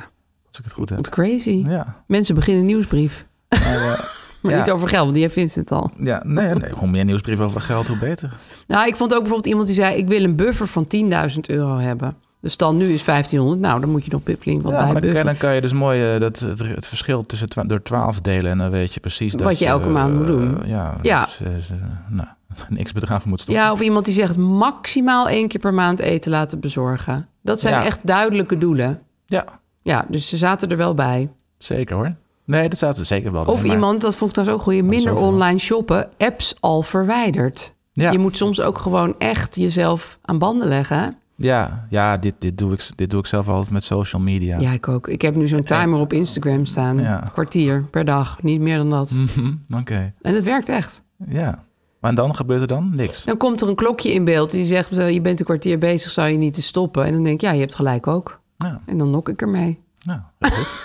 S3: als ik het goed heb.
S2: wat crazy.
S3: Ja.
S2: Mensen beginnen een nieuwsbrief.
S3: Maar, eh,
S2: Maar
S3: Ja.
S2: niet over geld, want die heeft Vincent al.
S3: ja, nee, nee, hoe meer nieuwsbrieven over geld, hoe beter.
S2: Nou, ik vond ook bijvoorbeeld iemand die zei... ik wil een buffer van 10.000 euro hebben. Dus dan nu is 1500. Nou, dan moet je nog flink wat bij
S3: Ja, maar dan, kan,
S2: bufferen.
S3: dan kan je dus mooi eh, dat, het, het verschil tussen twa- door twaalf delen en dan weet je precies dat
S2: Wat je elke
S3: eh,
S2: maand moet doen.
S3: eh, ja,
S2: Ja.
S3: Dus, eh, ze- nou, een x-bedrag moet stoppen.
S2: Ja, of iemand die zegt maximaal één keer per maand eten laten bezorgen. Dat zijn
S3: Ja.
S2: echt duidelijke doelen.
S3: Ja,
S2: Ja, dus ze zaten er wel bij.
S3: zeker hoor. Nee, dat zaten ze zeker wel.
S2: Of
S3: bij, maar-
S2: iemand, dat vond ik trouwens ook goed, minder
S3: zoveel.
S2: online shoppen, apps al verwijderd.
S3: Ja.
S2: Je moet soms ook gewoon echt jezelf aan banden leggen. hè?
S3: Ja, ja dit, dit, doe ik, dit doe ik zelf altijd met social media.
S2: Ja, ik ook. Ik heb nu zo'n timer op Instagram staan.
S3: Ja.
S2: Kwartier per dag, niet meer dan dat.
S3: Mhm, Oké,
S2: En het werkt echt.
S3: ja. Maar dan gebeurt er dan niks.
S2: Dan komt er een klokje in beeld die zegt, eh, je bent een kwartier bezig, zou je niet te stoppen? En dan denk ik, ja, je hebt gelijk ook.
S3: Ja.
S2: En dan nok ik ermee.
S3: Nou, goed.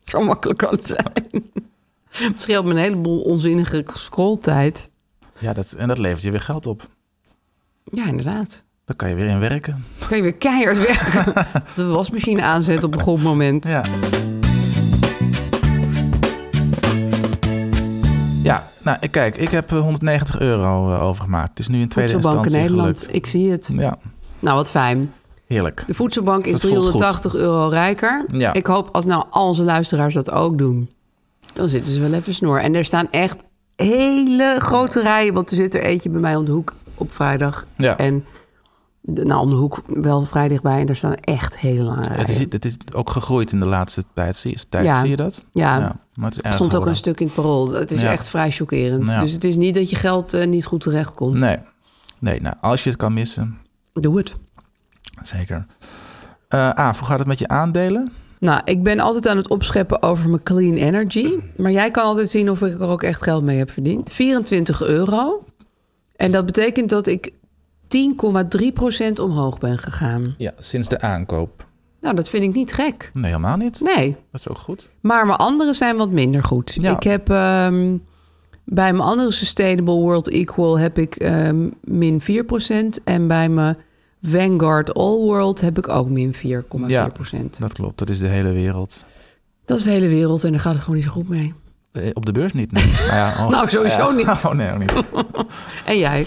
S2: Zo makkelijk kan het zijn. Het scheelt me een heleboel onzinnige scrolltijd.
S3: ja, dat, en dat levert je weer geld op.
S2: Ja, inderdaad.
S3: Dan kan je weer in werken.
S2: Dan kun je weer keihard werken. De wasmachine aanzetten op een goed moment.
S3: Ja. Ja, nou ik- kijk, ik heb eh, 190 euro eh, overgemaakt. Het is nu in tweede
S2: Voedselbank in
S3: instantie
S2: Nederland.
S3: gelukt.
S2: Ik zie het.
S3: Ja,
S2: Nou, wat fijn.
S3: heerlijk.
S2: De voedselbank is
S3: Dat voelt goed.
S2: 380 euro rijker.
S3: Ja.
S2: Ik hoop als nou al onze luisteraars dat ook doen, dan zitten ze wel even snor. En er staan echt hele grote rijen, want er zit er eentje bij mij om de hoek op vrijdag.
S3: Ja.
S2: En de- nou, om de hoek wel vrij dichtbij en daar staan echt hele lange rijen.
S3: Het is, het is ook gegroeid in de laatste tijd. Zie, je- tijd,
S2: eh, Ja.
S3: zie je dat?
S2: Ja.
S3: maar het is
S2: Er
S3: erg
S2: stond ook
S3: geworden.
S2: een stuk in het parool. Het is
S3: Ja.
S2: echt vrij chockerend.
S3: Ja.
S2: Dus het is niet dat je geld eh, niet goed terecht komt.
S3: Nee, nee nou, als je het kan missen,
S2: Doe het.
S3: zeker. Eh ah, hoe gaat het met je aandelen?
S2: Nou, ik ben altijd aan het opscheppen over mijn clean energy. Maar jij kan altijd zien of ik er ook echt geld mee heb verdiend. 24 euro. En dat betekent dat ik 10,3% omhoog ben gegaan.
S3: Ja, sinds de aankoop.
S2: Nou, dat vind ik niet gek.
S3: Nee, helemaal niet.
S2: Nee.
S3: Dat is ook goed.
S2: Maar mijn andere zijn wat minder goed.
S3: Ja.
S2: Ik heb ehm, bij mijn andere Sustainable World Equal heb ik ehm, min 4%. En bij mijn Vanguard All World heb ik ook min 4,4%.
S3: Ja. Dat klopt, dat is de hele wereld.
S2: Dat is de hele wereld en daar gaat het gewoon niet zo goed mee.
S3: Eh, Op de beurs niet. Nee. Nou, ja, oh,
S2: Nou, sowieso niet.
S3: Oh, nee, ook niet.
S2: En jij?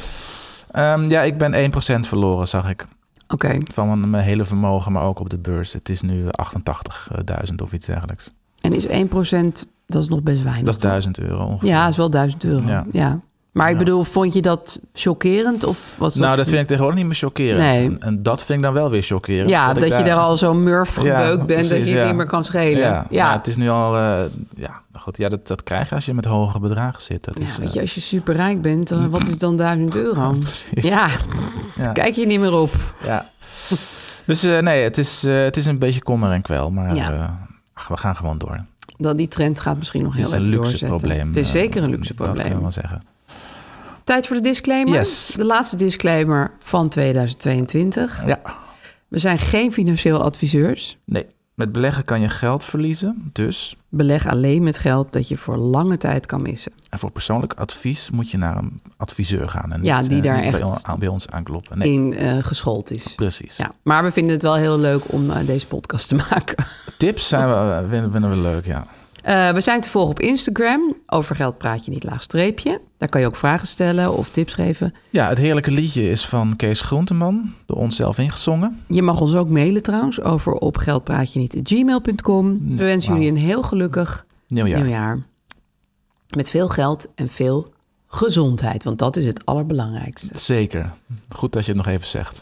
S3: Ehm, ja, ik ben 1% verloren, zag ik.
S2: Oké.
S3: Van mijn, mijn hele vermogen, maar ook op de beurs. Het is nu 88.000 of iets dergelijks.
S2: En is 1%, dat is nog best weinig.
S3: Dat is 1000 euro ongeveer.
S2: Ja, dat is wel 1000 euro. Ja.
S3: Ja.
S2: Maar ik
S3: Ja.
S2: bedoel, vond je dat chockerend? Of was
S3: nou, dat vind ik tegenwoordig niet meer chockerend.
S2: Nee.
S3: En, en dat vind ik dan wel weer chockerend.
S2: Ja, dat,
S3: ik
S2: je daar al zo murf
S3: Ja,
S2: gebeukt bent dat
S3: precies,
S2: je het
S3: ja.
S2: niet meer kan schelen. Ja,
S3: Ja, ja. het is nu al... eh, ja, goed, ja dat, dat krijg je als je met hoge bedragen zit. Dat
S2: Ja,
S3: is,
S2: weet
S3: eh,
S2: je, als je superrijk bent, dan, wat is dan 1000 euro?
S3: precies.
S2: Ja,
S3: Ja.
S2: kijk je niet meer op.
S3: Ja. Dus eh, nee, het is, eh, het is een beetje kommer en kwel. Maar
S2: Ja.
S3: eh, ach, we gaan gewoon door.
S2: Dat die trend gaat misschien nog
S3: Het
S2: heel
S3: is een
S2: even
S3: luxe
S2: doorzetten.
S3: probleem.
S2: Het is
S3: eh,
S2: zeker een luxe
S3: Dat kan je
S2: probleem.
S3: wel zeggen.
S2: Tijd voor de disclaimer.
S3: Yes.
S2: De laatste disclaimer van 2022.
S3: Ja,
S2: We zijn geen financieel adviseurs.
S3: nee. Met beleggen kan je geld verliezen, dus.
S2: Beleg alleen met geld dat je voor lange tijd kan missen.
S3: En voor persoonlijk advies moet je naar een adviseur gaan. En
S2: Ja,
S3: niet,
S2: die
S3: eh,
S2: daar
S3: niet
S2: echt
S3: bij, on- aan- bij ons aankloppen. Nee,
S2: In eh, geschoold is.
S3: precies.
S2: Ja, maar we vinden het wel heel leuk om eh, deze podcast te maken.
S3: Tips zijn we, eh, vinden, vinden we leuk, ja.
S2: Eh, we zijn te volgen op Instagram. Over geld praat je niet laag streepje. Daar kan je ook vragen stellen of tips geven.
S3: Ja, het heerlijke liedje is van Kees Groenteman, door onszelf ingezongen.
S2: Je mag ons ook mailen trouwens over op geldpraatje niet gmail.com. We wensen
S3: Mm, wauw.
S2: jullie een heel gelukkig
S3: Nieuwjaar.
S2: nieuwjaar. Met veel geld en veel gezondheid, want dat is het allerbelangrijkste.
S3: Zeker. Goed dat je het nog even zegt.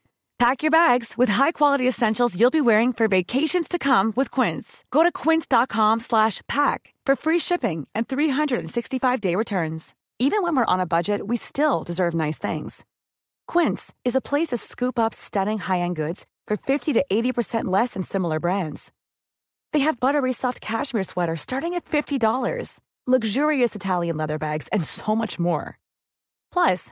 S4: Pack your bags with high-quality essentials you'll be wearing for vacations to come with Quince. Go to quince.com/pack slash pack for free shipping and 365-day returns. Even when we're on a budget, we still deserve nice things. Quince is a place to scoop up stunning high-end goods for 50 to 80% less than similar brands. They have buttery soft cashmere sweaters starting at $50, luxurious Italian leather bags, and so much more. Plus,